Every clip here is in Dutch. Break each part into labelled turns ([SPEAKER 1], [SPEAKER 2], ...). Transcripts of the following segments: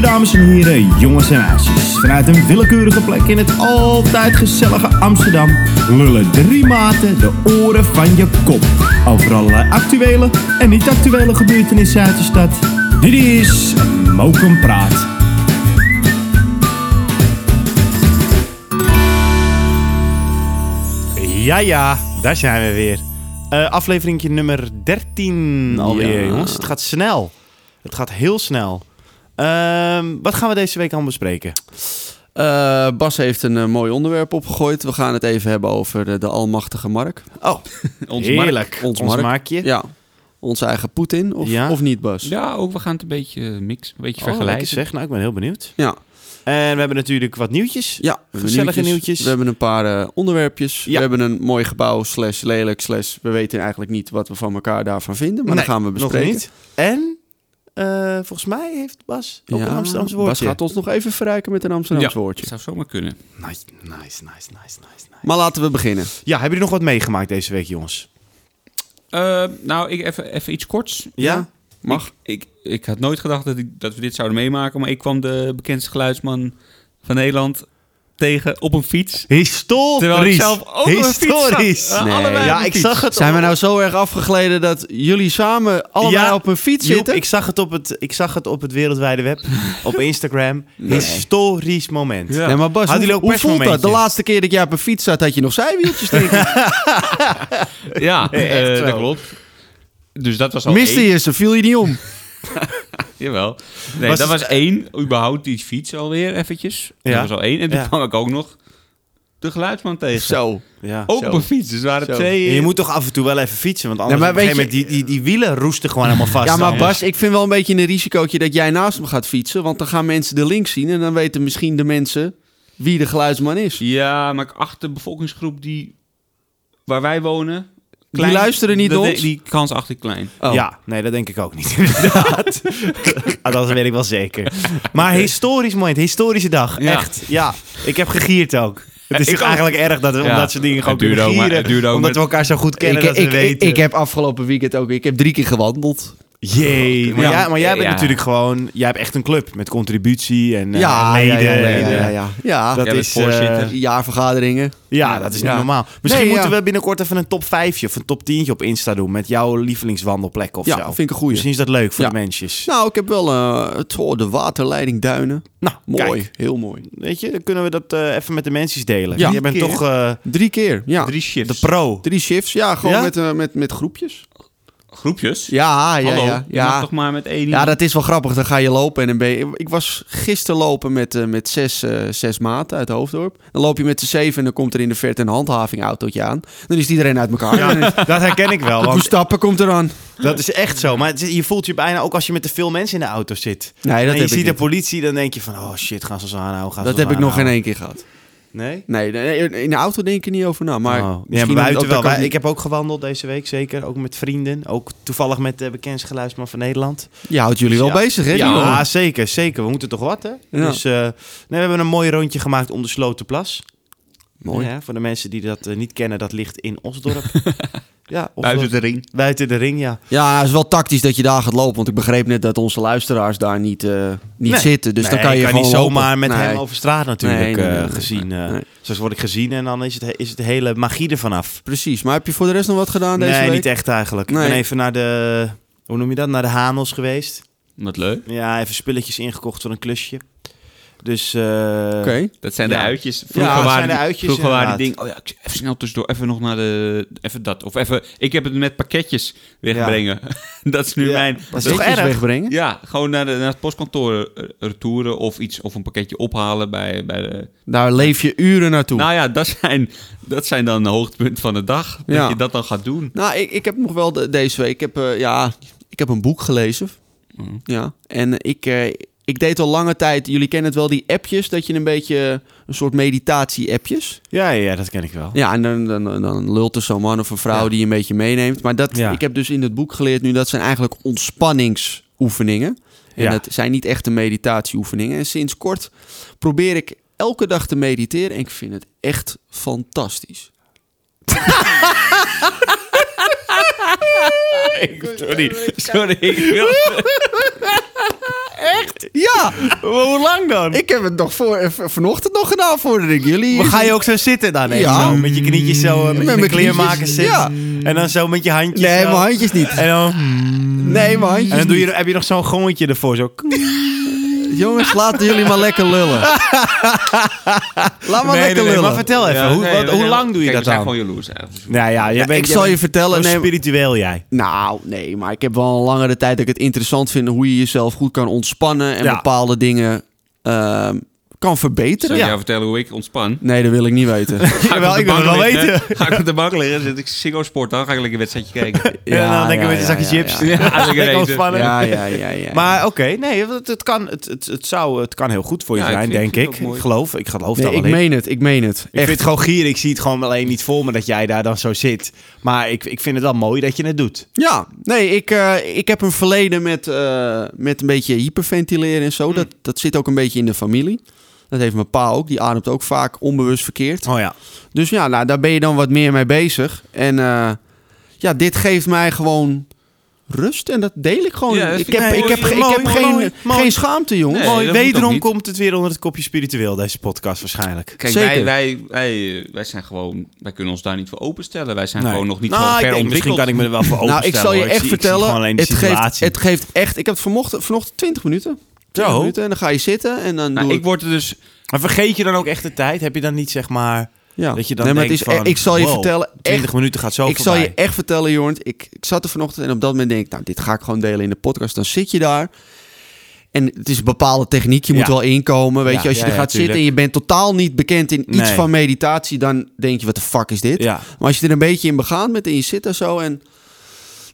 [SPEAKER 1] dames en heren, jongens en meisjes. Vanuit een willekeurige plek in het altijd gezellige Amsterdam lullen drie maten de oren van je kop. Over allerlei actuele en niet-actuele gebeurtenissen uit de stad. Dit is Mokum Praat.
[SPEAKER 2] Ja, ja, daar zijn we weer. Eh afleveringje nummer 13 alweer,
[SPEAKER 1] Ja.
[SPEAKER 2] jongens. Het gaat snel. Het gaat heel snel. Ehm, wat gaan we deze week allemaal bespreken?
[SPEAKER 3] Eh, Bas heeft een eh, mooi onderwerp opgegooid. We gaan het even hebben over eh, de almachtige Mark.
[SPEAKER 2] Oh,
[SPEAKER 4] Ons
[SPEAKER 2] heerlijk.
[SPEAKER 4] mark.
[SPEAKER 2] Ons,
[SPEAKER 3] Ons mark.
[SPEAKER 2] maakje.
[SPEAKER 3] Ja, onze eigen Poetin, of,
[SPEAKER 2] Ja.
[SPEAKER 3] of niet Bas?
[SPEAKER 4] Ja, ook we gaan het een beetje mixen,
[SPEAKER 2] Oh,
[SPEAKER 4] een beetje
[SPEAKER 2] lekker
[SPEAKER 4] vergelijken.
[SPEAKER 2] zeg. Nou, ik ben heel benieuwd.
[SPEAKER 3] Ja.
[SPEAKER 2] En we hebben natuurlijk wat nieuwtjes.
[SPEAKER 3] Ja, we hebben
[SPEAKER 2] Gezellige nieuwtjes.
[SPEAKER 3] We hebben een paar eh, onderwerpjes.
[SPEAKER 2] Ja.
[SPEAKER 3] We hebben een mooi gebouw, slash lelijk, slash... We weten eigenlijk niet wat we van elkaar daarvan vinden, maar
[SPEAKER 2] Nee,
[SPEAKER 3] dan gaan we
[SPEAKER 2] Nog
[SPEAKER 3] bespreken.
[SPEAKER 2] niet. En eh, volgens mij heeft Bas ook
[SPEAKER 3] Ja,
[SPEAKER 2] een Amsterdamse
[SPEAKER 3] Bas
[SPEAKER 2] woordje.
[SPEAKER 3] gaat ons nog even verrijken met een Amsterdamse
[SPEAKER 4] Ja.
[SPEAKER 3] woordje.
[SPEAKER 4] zou zomaar kunnen.
[SPEAKER 2] Nice, nice, nice, nice, nice.
[SPEAKER 3] Maar laten we beginnen.
[SPEAKER 2] Ja, hebben jullie nog wat meegemaakt deze week, jongens?
[SPEAKER 4] Eh, nou, ik even, even iets korts.
[SPEAKER 2] Ja?
[SPEAKER 4] Mag. Ik, ik, ik had nooit gedacht dat, ik, dat we dit zouden meemaken, maar ik kwam de bekendste geluidsman van Nederland tegen op een fiets.
[SPEAKER 2] Historisch.
[SPEAKER 4] Terwijl ik zelf ook op een fiets
[SPEAKER 2] Historisch.
[SPEAKER 4] zat. Eh,
[SPEAKER 3] Nee.
[SPEAKER 4] allebei op
[SPEAKER 2] Ja,
[SPEAKER 4] een
[SPEAKER 2] ik
[SPEAKER 4] fiets.
[SPEAKER 2] zag het.
[SPEAKER 3] Zijn we
[SPEAKER 2] op-
[SPEAKER 3] nou zo erg afgegleden dat jullie samen allemaal
[SPEAKER 2] Ja,
[SPEAKER 3] op een fiets
[SPEAKER 2] Joep,
[SPEAKER 3] zitten?
[SPEAKER 2] ik zag het op het, ik zag het op het wereldwijde web, op Instagram. Historisch moment.
[SPEAKER 4] Ja.
[SPEAKER 3] Nee, maar Bas,
[SPEAKER 2] Hadden
[SPEAKER 3] hoe,
[SPEAKER 2] jullie ook
[SPEAKER 3] hoe voelt dat?
[SPEAKER 2] persmomentje?
[SPEAKER 3] De laatste keer dat jij op een fiets zat, had je nog zijwieltjes, denk ik.
[SPEAKER 4] Ja,
[SPEAKER 2] Nee, echt
[SPEAKER 4] eh, dat
[SPEAKER 2] wel.
[SPEAKER 4] klopt. Dus dat was al
[SPEAKER 3] Miste
[SPEAKER 4] één.
[SPEAKER 3] je ze, viel je niet om.
[SPEAKER 4] Jawel. Nee,
[SPEAKER 2] Was
[SPEAKER 4] dat
[SPEAKER 2] het-
[SPEAKER 4] was één. Überhaupt die fiets alweer eventjes.
[SPEAKER 2] Ja.
[SPEAKER 4] Dat was al één. En toen
[SPEAKER 2] Ja.
[SPEAKER 4] kwam ik ook nog de geluidsman tegen.
[SPEAKER 3] Zo.
[SPEAKER 2] Ja.
[SPEAKER 4] Ook
[SPEAKER 3] Zo.
[SPEAKER 4] op een fiets. Dus er waren
[SPEAKER 3] Zo.
[SPEAKER 4] twee...
[SPEAKER 2] En
[SPEAKER 4] eh,
[SPEAKER 2] Je moet toch af en toe wel even fietsen, want anders
[SPEAKER 3] Nee,
[SPEAKER 2] op
[SPEAKER 3] maar
[SPEAKER 2] een gegeven
[SPEAKER 3] weet
[SPEAKER 2] moment die, die, die wielen roesten gewoon helemaal vast.
[SPEAKER 3] Ja, maar
[SPEAKER 2] dan.
[SPEAKER 3] Bas, ik vind wel een beetje een risicootje dat jij naast hem gaat fietsen. Want dan gaan mensen de link zien en dan weten misschien de mensen wie de geluidsman is.
[SPEAKER 4] Ja, maar ik acht de bevolkingsgroep die waar wij wonen.
[SPEAKER 3] luisteren niet
[SPEAKER 4] dat-
[SPEAKER 3] naar
[SPEAKER 4] die-
[SPEAKER 3] ons?
[SPEAKER 4] Die kans acht ik klein.
[SPEAKER 3] Oh.
[SPEAKER 2] Ja, nee, dat denk ik ook niet. Inderdaad. Ah, dat weet ik wel zeker. Maar historisch moment, historische dag.
[SPEAKER 4] Ja.
[SPEAKER 2] Echt. Ja, ik heb gegierd ook. Het is
[SPEAKER 4] Ik
[SPEAKER 2] toch
[SPEAKER 4] ook.
[SPEAKER 2] eigenlijk erg dat, we-
[SPEAKER 4] Ja.
[SPEAKER 2] omdat ze dingen gewoon
[SPEAKER 4] Het duurde
[SPEAKER 2] kunnen
[SPEAKER 4] ook maar-
[SPEAKER 2] gieren.
[SPEAKER 4] het duurde ook
[SPEAKER 2] omdat
[SPEAKER 4] met-
[SPEAKER 2] we elkaar zo goed
[SPEAKER 3] Ik,
[SPEAKER 2] kennen dat we
[SPEAKER 3] ik, ik,
[SPEAKER 2] weten.
[SPEAKER 3] ik heb afgelopen weekend ook, ik heb drie keer gewandeld.
[SPEAKER 2] Jee, maar,
[SPEAKER 4] Ja.
[SPEAKER 2] jij, maar jij bent
[SPEAKER 4] Ja.
[SPEAKER 2] natuurlijk gewoon... Jij hebt echt een club met contributie en eh,
[SPEAKER 3] ja, ja,
[SPEAKER 2] leden.
[SPEAKER 3] ja, ja,
[SPEAKER 2] en,
[SPEAKER 3] ja,
[SPEAKER 2] eh,
[SPEAKER 3] ja, ja. Ja,
[SPEAKER 2] Dat
[SPEAKER 4] Jij bent
[SPEAKER 2] is, eh,
[SPEAKER 4] voorzitter.
[SPEAKER 3] jaarvergaderingen.
[SPEAKER 2] ja, dat is niet
[SPEAKER 3] Ja.
[SPEAKER 2] normaal. Misschien
[SPEAKER 3] Nee,
[SPEAKER 2] moeten
[SPEAKER 3] ja.
[SPEAKER 2] we binnenkort even een top 5 of een top 10 op Insta doen... met jouw lievelingswandelplek of
[SPEAKER 3] Ja,
[SPEAKER 2] zo.
[SPEAKER 3] vind ik een goeie.
[SPEAKER 2] Misschien is dat leuk voor
[SPEAKER 3] Ja.
[SPEAKER 2] de mensjes.
[SPEAKER 3] Nou, ik heb wel eh, het- oh, de waterleiding Duinen.
[SPEAKER 2] Nou,
[SPEAKER 3] Mooi,
[SPEAKER 2] kijk,
[SPEAKER 3] heel mooi.
[SPEAKER 2] weet je, dan kunnen we dat eh, even met de mensjes delen.
[SPEAKER 3] Ja.
[SPEAKER 2] Jij bent
[SPEAKER 4] Keer.
[SPEAKER 2] toch eh,
[SPEAKER 3] Drie keer, ja. Drie,
[SPEAKER 4] Drie shifts.
[SPEAKER 2] pro.
[SPEAKER 3] shifts, ja, gewoon
[SPEAKER 2] Ja?
[SPEAKER 3] Met, eh, met, met groepjes.
[SPEAKER 4] Groepjes?
[SPEAKER 3] Ja, ja,
[SPEAKER 4] Hallo,
[SPEAKER 3] ja.
[SPEAKER 4] je mag
[SPEAKER 3] ja.
[SPEAKER 4] toch maar met één
[SPEAKER 3] Ja, dat is wel grappig. Dan ga je lopen en dan ben je... Ik was gisteren lopen met, eh, met zes, eh, zes maten uit Hoofddorp. Dan loop je met z'n zeven en dan komt er in de verte een handhavingautootje aan. Dan is iedereen uit elkaar. En dan-
[SPEAKER 2] Dat herken ik wel,
[SPEAKER 3] Hoe
[SPEAKER 2] want
[SPEAKER 3] stappen komt er aan?
[SPEAKER 2] dat is echt zo. Maar het is- je voelt je bijna ook als je met te veel mensen in de auto zit.
[SPEAKER 3] Nee, dat
[SPEAKER 2] en je
[SPEAKER 3] heb
[SPEAKER 2] ziet
[SPEAKER 3] ik
[SPEAKER 2] de
[SPEAKER 3] niet.
[SPEAKER 2] politie, dan denk je van... Oh shit, gaan ze ons aanhouden? Gaan ze
[SPEAKER 3] Dat
[SPEAKER 2] ons
[SPEAKER 3] heb ik nog geen
[SPEAKER 2] aanhouden?
[SPEAKER 3] één keer gehad.
[SPEAKER 2] Nee?
[SPEAKER 3] Nee, nee, in de auto denk ik er niet over na. Maar
[SPEAKER 2] Oh. ja,
[SPEAKER 3] misschien
[SPEAKER 2] maar buiten
[SPEAKER 3] ook dat
[SPEAKER 2] wel.
[SPEAKER 3] kan
[SPEAKER 2] Wij-
[SPEAKER 3] niet.
[SPEAKER 2] ik heb ook gewandeld deze week, zeker. Ook met vrienden. Ook toevallig met de bekendste geluidsman van Nederland.
[SPEAKER 3] Je houdt jullie wel
[SPEAKER 2] Ja.
[SPEAKER 3] bezig, hè?
[SPEAKER 2] Ja,
[SPEAKER 3] die jongen?
[SPEAKER 2] zeker, zeker. We moeten toch wat, hè?
[SPEAKER 3] Ja.
[SPEAKER 2] Dus eh, nee, we hebben een mooi rondje gemaakt om de Slotenplas.
[SPEAKER 3] Mooi.
[SPEAKER 2] Ja, voor de mensen die dat eh, niet kennen, dat ligt in Osdorp. ja, Osdorp.
[SPEAKER 4] buiten de ring.
[SPEAKER 2] Buiten de ring, ja.
[SPEAKER 3] Ja, het is wel tactisch dat je daar gaat lopen. Want ik begreep net dat onze luisteraars daar niet, eh, niet
[SPEAKER 2] Nee.
[SPEAKER 3] zitten. Dus dan
[SPEAKER 2] Nee,
[SPEAKER 3] kan je
[SPEAKER 2] ik
[SPEAKER 3] gewoon
[SPEAKER 2] niet
[SPEAKER 3] lopen.
[SPEAKER 2] zomaar met
[SPEAKER 3] Nee.
[SPEAKER 2] hem over straat natuurlijk
[SPEAKER 3] Nee, nee,
[SPEAKER 2] eh,
[SPEAKER 3] nee, nee,
[SPEAKER 2] gezien. eh.
[SPEAKER 3] nee.
[SPEAKER 2] Zoals word ik gezien en dan is het, is het de hele magie ervan af.
[SPEAKER 3] Precies. Maar heb je voor de rest nog wat gedaan deze
[SPEAKER 2] Nee,
[SPEAKER 3] week?
[SPEAKER 2] niet echt eigenlijk. Ik
[SPEAKER 3] Nee.
[SPEAKER 2] ben even naar de, hoe noem je dat, naar de Hanels geweest.
[SPEAKER 4] Wat leuk.
[SPEAKER 2] Ja, even spulletjes ingekocht voor een klusje. Dus eh,
[SPEAKER 3] Oké.
[SPEAKER 4] Dat zijn de
[SPEAKER 2] Ja.
[SPEAKER 4] uitjes.
[SPEAKER 2] Ja, dat
[SPEAKER 4] waren
[SPEAKER 2] zijn de
[SPEAKER 4] die-
[SPEAKER 2] uitjes,
[SPEAKER 4] Vroeger waren die
[SPEAKER 2] inderdaad.
[SPEAKER 4] dingen. Oh ja, ik- even snel tussendoor. Even nog naar de... Even dat. Of even... Ik heb het met pakketjes wegbrengen. dat is nu
[SPEAKER 2] Ja.
[SPEAKER 4] mijn...
[SPEAKER 2] Dat is
[SPEAKER 3] Netjes
[SPEAKER 2] toch erg?
[SPEAKER 3] wegbrengen?
[SPEAKER 4] Ja, gewoon naar, de, naar het postkantoor eh, retouren of iets. Of een pakketje ophalen bij, bij de...
[SPEAKER 3] Daar leef je uren naartoe. Nou,
[SPEAKER 4] Nou ja, dat zijn, dat zijn dan de hoogtepunten van de dag. Dat
[SPEAKER 3] Ja.
[SPEAKER 4] je dat dan gaat doen.
[SPEAKER 3] nou, ik, ik heb nog wel de- deze week. Ik heb, eh, ja, ik heb een boek gelezen.
[SPEAKER 4] Mhm.
[SPEAKER 3] Ja. En eh, ik, eh, ik deed al lange tijd. Jullie kennen het wel, die appjes. Dat je een beetje een soort meditatie-appjes.
[SPEAKER 2] ja, ja, dat ken ik wel.
[SPEAKER 3] Ja, en dan, dan, dan lult er zo'n man of een vrouw
[SPEAKER 2] Ja.
[SPEAKER 3] die je een beetje meeneemt. Maar dat,
[SPEAKER 2] Ja.
[SPEAKER 3] ik heb dus in het boek geleerd nu, dat zijn eigenlijk ontspanningsoefeningen. En
[SPEAKER 2] Ja.
[SPEAKER 3] dat zijn niet echte meditatieoefeningen. En sinds kort probeer ik elke dag te mediteren en ik vind het echt fantastisch.
[SPEAKER 4] Sorry, sorry. Ik wil,
[SPEAKER 3] echt? Ja.
[SPEAKER 2] Hoe lang dan?
[SPEAKER 3] Ik heb het nog voor, v- vanochtend nog gedaan voordat ik jullie...
[SPEAKER 2] Maar ga je ook zo zitten dan? hè?
[SPEAKER 3] Ja.
[SPEAKER 2] Zo, met je knietjes zo, eh, met,
[SPEAKER 3] Met
[SPEAKER 2] je
[SPEAKER 3] mijn
[SPEAKER 2] kleermaker
[SPEAKER 3] knietjes,
[SPEAKER 2] zitten.
[SPEAKER 3] ja.
[SPEAKER 2] En dan zo met je handjes.
[SPEAKER 3] Nee,
[SPEAKER 2] zo.
[SPEAKER 3] mijn handjes niet.
[SPEAKER 2] En dan,
[SPEAKER 3] Nee, mijn handjes
[SPEAKER 2] en dan doe
[SPEAKER 3] niet.
[SPEAKER 2] je, heb je nog zo'n gongetje ervoor. Zo.
[SPEAKER 3] Jongens, laten jullie maar lekker lullen. Laat
[SPEAKER 2] Nee,
[SPEAKER 3] maar lekker
[SPEAKER 2] nee, nee,
[SPEAKER 3] lullen.
[SPEAKER 2] maar vertel even. hoe, wat- hoe lang doe je dat
[SPEAKER 4] Kijk, we zijn
[SPEAKER 2] dan?
[SPEAKER 4] gewoon jaloers eigenlijk.
[SPEAKER 2] Nou ja, je
[SPEAKER 3] Ja,
[SPEAKER 2] bent,
[SPEAKER 3] ik zal je vertellen...
[SPEAKER 2] Hoe
[SPEAKER 3] Nee,
[SPEAKER 2] spiritueel jij.
[SPEAKER 3] Nou, nee, maar ik heb wel een langere tijd dat ik het interessant vind hoe je jezelf goed kan ontspannen en
[SPEAKER 2] Ja.
[SPEAKER 3] bepaalde dingen ehm, kan verbeteren.
[SPEAKER 4] Zou je jou vertellen hoe ik ontspan?
[SPEAKER 3] Nee, dat wil ik niet weten.
[SPEAKER 4] Ga
[SPEAKER 2] Jawel,
[SPEAKER 4] op de
[SPEAKER 2] ik wil het
[SPEAKER 4] bank
[SPEAKER 2] wel
[SPEAKER 4] liggen,
[SPEAKER 2] weten.
[SPEAKER 4] Ga ik op de bank liggen, zit ik Ziggo Sport aan, ga ik lekker een wedstrijdje kijken.
[SPEAKER 2] en dan denk ik met een zakje
[SPEAKER 3] ja,
[SPEAKER 2] chips.
[SPEAKER 3] Ja,
[SPEAKER 2] Ja,
[SPEAKER 4] Lekker
[SPEAKER 2] lekker
[SPEAKER 4] eten.
[SPEAKER 2] ontspannen.
[SPEAKER 3] ja, ja, ja, ja.
[SPEAKER 2] Maar oké, nee, het, het, kan, het, het, het zou, het kan heel goed voor je
[SPEAKER 4] Ja, ik
[SPEAKER 2] zijn,
[SPEAKER 4] vind-
[SPEAKER 2] denk
[SPEAKER 4] vind
[SPEAKER 2] ik.
[SPEAKER 4] het ook mooi.
[SPEAKER 2] Ik geloof, ik geloof
[SPEAKER 3] nee,
[SPEAKER 2] daar
[SPEAKER 3] ik
[SPEAKER 2] wel in.
[SPEAKER 3] meen het, ik meen het.
[SPEAKER 2] Ik
[SPEAKER 3] Echt.
[SPEAKER 2] vind het gewoon gier. Ik zie het gewoon alleen niet voor me dat jij daar dan zo zit. Maar ik, ik vind het wel mooi dat je het doet.
[SPEAKER 3] Ja, nee, ik, eh, ik heb een verleden met, eh, met een beetje hyperventileren en
[SPEAKER 2] Hmm.
[SPEAKER 3] zo. Dat, dat zit ook een beetje in de familie. Dat heeft mijn pa ook. Die ademt ook vaak onbewust verkeerd.
[SPEAKER 2] Oh ja.
[SPEAKER 3] Dus ja, nou, daar ben je dan wat meer mee bezig. En eh, ja, dit geeft mij gewoon rust en dat deel ik gewoon.
[SPEAKER 4] Ja, dat
[SPEAKER 3] ik,
[SPEAKER 4] vind
[SPEAKER 3] heb,
[SPEAKER 4] ik
[SPEAKER 3] ik, heb,
[SPEAKER 4] mooi.
[SPEAKER 3] ge- ik heb
[SPEAKER 2] Mooi,
[SPEAKER 3] geen,
[SPEAKER 2] mooi, mooi.
[SPEAKER 3] geen schaamte, jongens.
[SPEAKER 4] Nee,
[SPEAKER 2] mooi.
[SPEAKER 4] dat moet ook
[SPEAKER 2] Wederom
[SPEAKER 4] niet.
[SPEAKER 2] komt het weer onder het kopje spiritueel, deze podcast waarschijnlijk.
[SPEAKER 4] Kijk,
[SPEAKER 3] Zeker.
[SPEAKER 4] wij, wij, wij, eh, wij zijn gewoon, wij kunnen ons daar niet voor openstellen. Wij zijn
[SPEAKER 2] Nee.
[SPEAKER 4] gewoon nog niet
[SPEAKER 2] Nou,
[SPEAKER 4] gewoon
[SPEAKER 2] ik
[SPEAKER 4] ver
[SPEAKER 2] denk,
[SPEAKER 4] ontwikkeld.
[SPEAKER 2] Misschien kan ik me er wel voor openstellen.
[SPEAKER 3] Nou, ik zal je
[SPEAKER 2] hoor.
[SPEAKER 3] echt
[SPEAKER 2] zie- zie gewoon
[SPEAKER 3] vertellen,
[SPEAKER 2] alleen de
[SPEAKER 3] het, geeft,
[SPEAKER 2] situatie.
[SPEAKER 3] het geeft echt... Ik heb het vanochtend, vanochtend 20 minuten. 20
[SPEAKER 2] Zo.
[SPEAKER 3] minuten en dan ga je zitten en dan
[SPEAKER 4] Nou,
[SPEAKER 3] doe
[SPEAKER 4] ik word er dus...
[SPEAKER 2] Maar vergeet je dan ook echt de tijd? Heb je dan niet zeg maar
[SPEAKER 3] ja.
[SPEAKER 2] dat je dan
[SPEAKER 3] nee, maar
[SPEAKER 2] denkt
[SPEAKER 3] het is,
[SPEAKER 2] van,
[SPEAKER 3] Ik zal je
[SPEAKER 2] wow,
[SPEAKER 3] vertellen,
[SPEAKER 2] 20
[SPEAKER 3] echt,
[SPEAKER 2] minuten gaat zo
[SPEAKER 3] ik zal
[SPEAKER 2] voorbij.
[SPEAKER 3] je echt vertellen, Jorn. Ik, ik zat er vanochtend en op dat moment denk ik... Nou, dit ga ik gewoon delen in de podcast. Dan zit je daar... En het is een bepaalde techniek, je moet
[SPEAKER 2] Ja.
[SPEAKER 3] wel inkomen. Weet
[SPEAKER 2] Ja,
[SPEAKER 3] je, als je
[SPEAKER 2] ja,
[SPEAKER 3] er
[SPEAKER 2] ja,
[SPEAKER 3] gaat zitten en
[SPEAKER 2] tuurlijk.
[SPEAKER 3] je bent totaal niet bekend in iets
[SPEAKER 2] Nee.
[SPEAKER 3] van meditatie, dan denk je: wat de fuck is dit?
[SPEAKER 2] Ja.
[SPEAKER 3] Maar als je er een beetje in begaand bent en je zit daar zo en.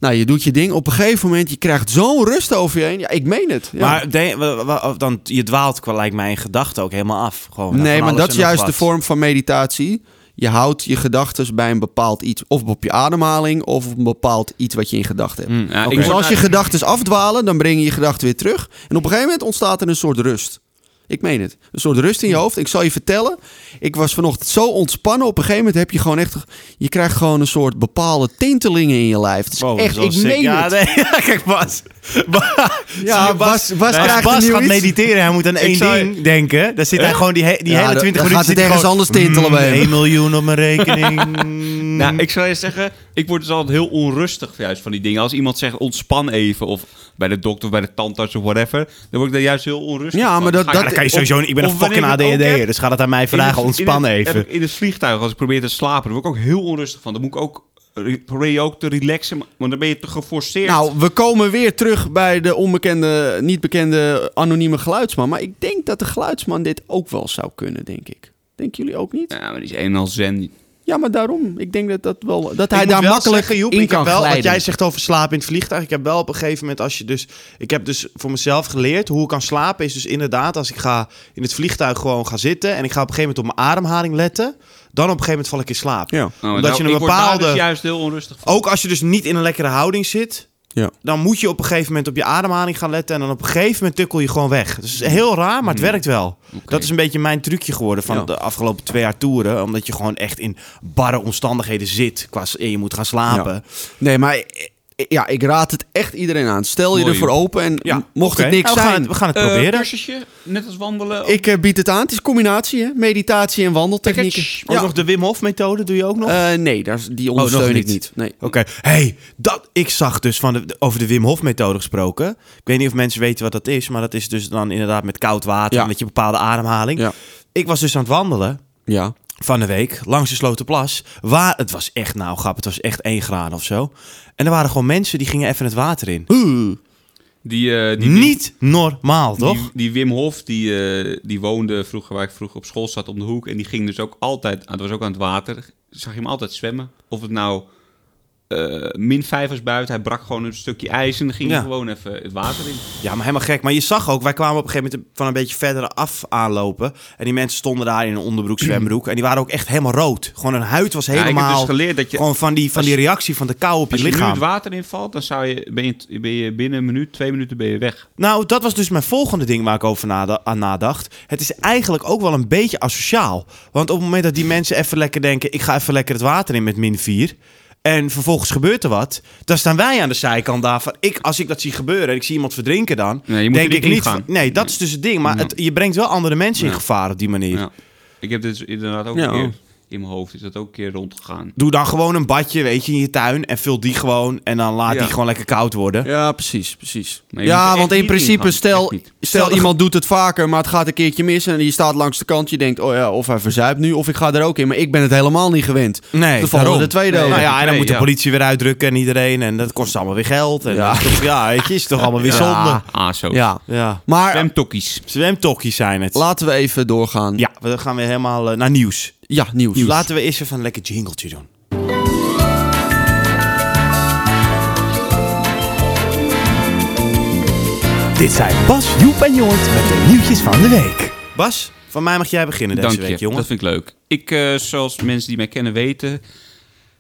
[SPEAKER 3] Nou, je doet je ding. Op een gegeven moment, je krijgt zo'n rust over je heen. Ja, ik meen het. Ja.
[SPEAKER 2] Maar denk- wa- wa- dan, je dwaalt qua lijkt mij in gedachten ook helemaal af. Gewoon van
[SPEAKER 3] nee, maar
[SPEAKER 2] Oh, alles
[SPEAKER 3] dat
[SPEAKER 2] en
[SPEAKER 3] is
[SPEAKER 2] nog
[SPEAKER 3] juist de
[SPEAKER 2] wat.
[SPEAKER 3] vorm van meditatie. Je houdt je gedachten bij een bepaald iets. Of op je ademhaling, of op een bepaald iets wat je in gedachten hebt.
[SPEAKER 2] Mm,
[SPEAKER 4] Ja,
[SPEAKER 2] oké.
[SPEAKER 4] ik
[SPEAKER 3] Dus
[SPEAKER 4] word
[SPEAKER 3] als je
[SPEAKER 4] daar-
[SPEAKER 3] gedachten afdwalen, dan breng je je gedachten weer terug. En op een gegeven moment ontstaat er een soort rust. Ik meen het. Een soort rust in je hoofd. Ik zal je vertellen, ik was vanochtend zo ontspannen. Op een gegeven moment heb je gewoon echt... Je krijgt gewoon een soort bepaalde tintelingen in je lijf. Het is
[SPEAKER 2] Wow,
[SPEAKER 3] echt,
[SPEAKER 2] dat
[SPEAKER 3] ik
[SPEAKER 2] is wel sick.
[SPEAKER 3] meen
[SPEAKER 2] ja,
[SPEAKER 3] het.
[SPEAKER 2] nee, ja, kijk Bas. Ba-
[SPEAKER 3] Ja,
[SPEAKER 2] Zie je,
[SPEAKER 3] Bas- Bas
[SPEAKER 2] Nee,
[SPEAKER 3] krijgt
[SPEAKER 2] Bas
[SPEAKER 3] een nieuw
[SPEAKER 2] gaat
[SPEAKER 3] iets.
[SPEAKER 2] mediteren. Hij moet aan één
[SPEAKER 4] zou-
[SPEAKER 2] ding denken. Daar zit hij gewoon die, he- die
[SPEAKER 3] Ja,
[SPEAKER 2] hele
[SPEAKER 3] dan-
[SPEAKER 2] 20
[SPEAKER 3] dan
[SPEAKER 2] minuten...
[SPEAKER 3] gaat het ergens anders tintelen bij hem.
[SPEAKER 2] 1 Mm, miljoen op mijn rekening.
[SPEAKER 4] Nou,
[SPEAKER 2] Mm.
[SPEAKER 4] ik zou je zeggen, ik word dus altijd heel onrustig juist van die dingen. Als iemand zegt ontspan even, of bij de dokter, of bij de tandarts, of whatever, dan word ik daar juist heel onrustig
[SPEAKER 3] Ja,
[SPEAKER 4] van.
[SPEAKER 3] maar dat-
[SPEAKER 4] Dan ga
[SPEAKER 3] dat-
[SPEAKER 2] Ja, dan kan je sowieso... niet- Ik ben
[SPEAKER 4] Of
[SPEAKER 2] een fucking
[SPEAKER 4] wanneer ik het ook
[SPEAKER 2] ADHD'er,
[SPEAKER 4] heb,
[SPEAKER 2] dus ga dat aan mij vragen.
[SPEAKER 4] In het- in
[SPEAKER 2] Ontspan
[SPEAKER 4] het-
[SPEAKER 2] even.
[SPEAKER 4] heb ik In het vliegtuig, als ik probeer te slapen, dan word ik ook heel onrustig van. Dan moet ik ook, re- probeer je ook te relaxen, maar- want dan ben je te geforceerd.
[SPEAKER 3] Nou, we komen weer terug bij de onbekende, niet bekende anonieme geluidsman. Maar ik denk dat de geluidsman dit ook wel zou kunnen, denk ik. Denken jullie ook niet?
[SPEAKER 4] ja, maar die is een en al zen. Nou,
[SPEAKER 3] Ja, maar daarom. Ik denk dat, dat, wel, dat
[SPEAKER 2] Ik
[SPEAKER 3] hij
[SPEAKER 2] moet
[SPEAKER 3] daar
[SPEAKER 2] wel
[SPEAKER 3] makkelijk
[SPEAKER 2] zeggen, Joep,
[SPEAKER 3] in
[SPEAKER 2] ik
[SPEAKER 3] kan
[SPEAKER 2] heb wel,
[SPEAKER 3] glijden.
[SPEAKER 2] Wat jij zegt over slapen in het vliegtuig. Ik heb wel op een gegeven moment als je dus... Ik heb dus voor mezelf geleerd hoe ik kan slapen. Is dus inderdaad als ik ga in het vliegtuig gewoon ga zitten. En ik ga op een gegeven moment op mijn ademhaling letten. Dan op een gegeven moment val ik in slaap.
[SPEAKER 3] Ja.
[SPEAKER 4] Nou,
[SPEAKER 2] Omdat
[SPEAKER 4] nou,
[SPEAKER 2] je een
[SPEAKER 4] ik word daar
[SPEAKER 2] bepaalde...
[SPEAKER 4] dus juist heel onrustig van.
[SPEAKER 2] Ook als je dus niet in een lekkere houding zit.
[SPEAKER 3] Ja.
[SPEAKER 2] Dan moet je op een gegeven moment op je ademhaling gaan letten. En dan op een gegeven moment tukkel je gewoon weg. Dus
[SPEAKER 3] Mm.
[SPEAKER 2] het is heel raar, maar het werkt wel. Dat is een beetje mijn trucje geworden van
[SPEAKER 3] Ja.
[SPEAKER 2] de afgelopen twee jaar toeren. Omdat je gewoon echt in barre omstandigheden zit. Qua, s- en je moet gaan slapen.
[SPEAKER 3] Nee, maar eh, ja, ik raad het echt iedereen aan. Stel je
[SPEAKER 4] Mooi,
[SPEAKER 3] ervoor
[SPEAKER 4] joh.
[SPEAKER 3] open en
[SPEAKER 2] Ja,
[SPEAKER 3] m- mocht
[SPEAKER 2] oké.
[SPEAKER 3] het niks
[SPEAKER 2] Nou, we Gaan
[SPEAKER 3] zijn.
[SPEAKER 2] het, we gaan het
[SPEAKER 4] Eh,
[SPEAKER 2] proberen.
[SPEAKER 4] cursusje, net als wandelen.
[SPEAKER 3] Ik eh, bied het aan. Het is een combinatie, hè? Meditatie en wandeltechnieken.
[SPEAKER 4] Lekker,
[SPEAKER 2] Ook
[SPEAKER 3] Ja.
[SPEAKER 2] Oh, nog de Wim Hof methode doe je ook nog?
[SPEAKER 3] Eh, nee, daar, die
[SPEAKER 2] nog
[SPEAKER 3] ondersteun ik
[SPEAKER 2] niet.
[SPEAKER 3] niet. Nee.
[SPEAKER 2] Oké, hey, dat ik zag dus van de, de- over de Wim Hof methode gesproken. Ik weet niet of mensen weten wat dat is, maar dat is dus dan inderdaad met koud water
[SPEAKER 3] Ja.
[SPEAKER 2] en met je bepaalde ademhaling.
[SPEAKER 3] Ja.
[SPEAKER 2] Ik was dus aan het wandelen
[SPEAKER 3] Ja.
[SPEAKER 2] van de week langs de Slotenplas, waar het was echt nou grap, het was echt 1 graad of zo. En er waren gewoon mensen die gingen even het water in.
[SPEAKER 3] Huh.
[SPEAKER 4] die, eh, die,
[SPEAKER 2] Niet normaal, toch?
[SPEAKER 4] Die, die Wim Hof, die, eh, die woonde vroeger waar ik vroeger op school zat om de hoek. En die ging dus ook altijd, dat was ook aan het water, zag je hem altijd zwemmen. Of het nou eh, min 5 was buiten, hij brak gewoon een stukje ijs en dan ging
[SPEAKER 2] Ja.
[SPEAKER 4] hij gewoon even het water in.
[SPEAKER 2] Ja, maar helemaal gek. Maar je zag ook, wij kwamen op een gegeven moment van een beetje verder af aanlopen. En die mensen stonden daar in een onderbroek, zwembroek. En die waren ook echt helemaal rood. Gewoon hun huid was
[SPEAKER 4] Ja, ik
[SPEAKER 2] helemaal...
[SPEAKER 4] heb dus geleerd dat je,
[SPEAKER 2] gewoon van die, van
[SPEAKER 4] als
[SPEAKER 2] die reactie van de kou op je
[SPEAKER 4] als je nu
[SPEAKER 2] lichaam.
[SPEAKER 4] het water invalt, dan zou je, ben, je, ben je binnen een minuut, twee minuten ben je weg.
[SPEAKER 2] Nou, dat was dus mijn volgende ding waar ik over nada- aan nadacht. Het is eigenlijk ook wel een beetje asociaal. Want op het moment dat die mensen even lekker denken... ik ga even lekker het water in met min 4... En vervolgens gebeurt er wat. Dan staan wij aan de zijkant daarvan. Ik, als ik dat zie gebeuren en ik zie iemand verdrinken dan...
[SPEAKER 4] Nee, je moet er
[SPEAKER 2] denk
[SPEAKER 4] niet
[SPEAKER 2] ik niet
[SPEAKER 4] ingaan.
[SPEAKER 2] van- Nee, dat is dus het ding. Maar het, je brengt wel andere mensen in
[SPEAKER 4] Ja.
[SPEAKER 2] gevaar op die manier.
[SPEAKER 4] Ja. Ik heb dit inderdaad ook
[SPEAKER 3] Ja.
[SPEAKER 4] een
[SPEAKER 2] oh.
[SPEAKER 4] keer in mijn hoofd. Is dat ook een keer rondgegaan.
[SPEAKER 2] Doe dan gewoon een badje, weet je, in je tuin. En vul die gewoon. En dan laat
[SPEAKER 4] Ja.
[SPEAKER 2] die gewoon lekker koud worden.
[SPEAKER 3] Ja, precies, precies.
[SPEAKER 4] Nee, je moet
[SPEAKER 3] ja,
[SPEAKER 4] er
[SPEAKER 3] want
[SPEAKER 4] echt
[SPEAKER 3] in
[SPEAKER 4] niet
[SPEAKER 3] principe,
[SPEAKER 4] ingaan.
[SPEAKER 3] stel,
[SPEAKER 4] Echt niet.
[SPEAKER 3] stel iemand doet het vaker, maar het gaat een keertje mis en je staat langs de kant. Je denkt, oh ja, of hij verzuipt nu, of ik ga er ook in. Maar ik ben het helemaal niet gewend.
[SPEAKER 2] Nee,
[SPEAKER 3] Dan vallen
[SPEAKER 2] daarom.
[SPEAKER 3] de tweede
[SPEAKER 2] Nee,
[SPEAKER 3] over.
[SPEAKER 2] Nou ja, en dan
[SPEAKER 4] Nee,
[SPEAKER 2] moet de
[SPEAKER 4] ja.
[SPEAKER 2] politie weer uitdrukken en iedereen. En dat kost allemaal weer geld. En
[SPEAKER 3] Ja.
[SPEAKER 2] ja. ja, weet je, is toch allemaal weer zonde.
[SPEAKER 3] Ja.
[SPEAKER 4] Ah, zo.
[SPEAKER 3] Ja,
[SPEAKER 2] Ja.
[SPEAKER 3] maar
[SPEAKER 4] Zwemtokkies.
[SPEAKER 2] Zwemtokjes zijn het.
[SPEAKER 3] laten we even doorgaan. Ja,
[SPEAKER 2] ja, we gaan weer helemaal eh, naar nieuws.
[SPEAKER 3] nieuws.
[SPEAKER 2] Laten we eerst even een lekker jingletje doen. Dit zijn Bas, Joep en Joort met de nieuwtjes van de week. Bas, van mij mag jij beginnen deze
[SPEAKER 4] Dank je.
[SPEAKER 2] week, jongen.
[SPEAKER 4] Dat vind ik leuk. Ik, eh, zoals mensen die mij kennen weten,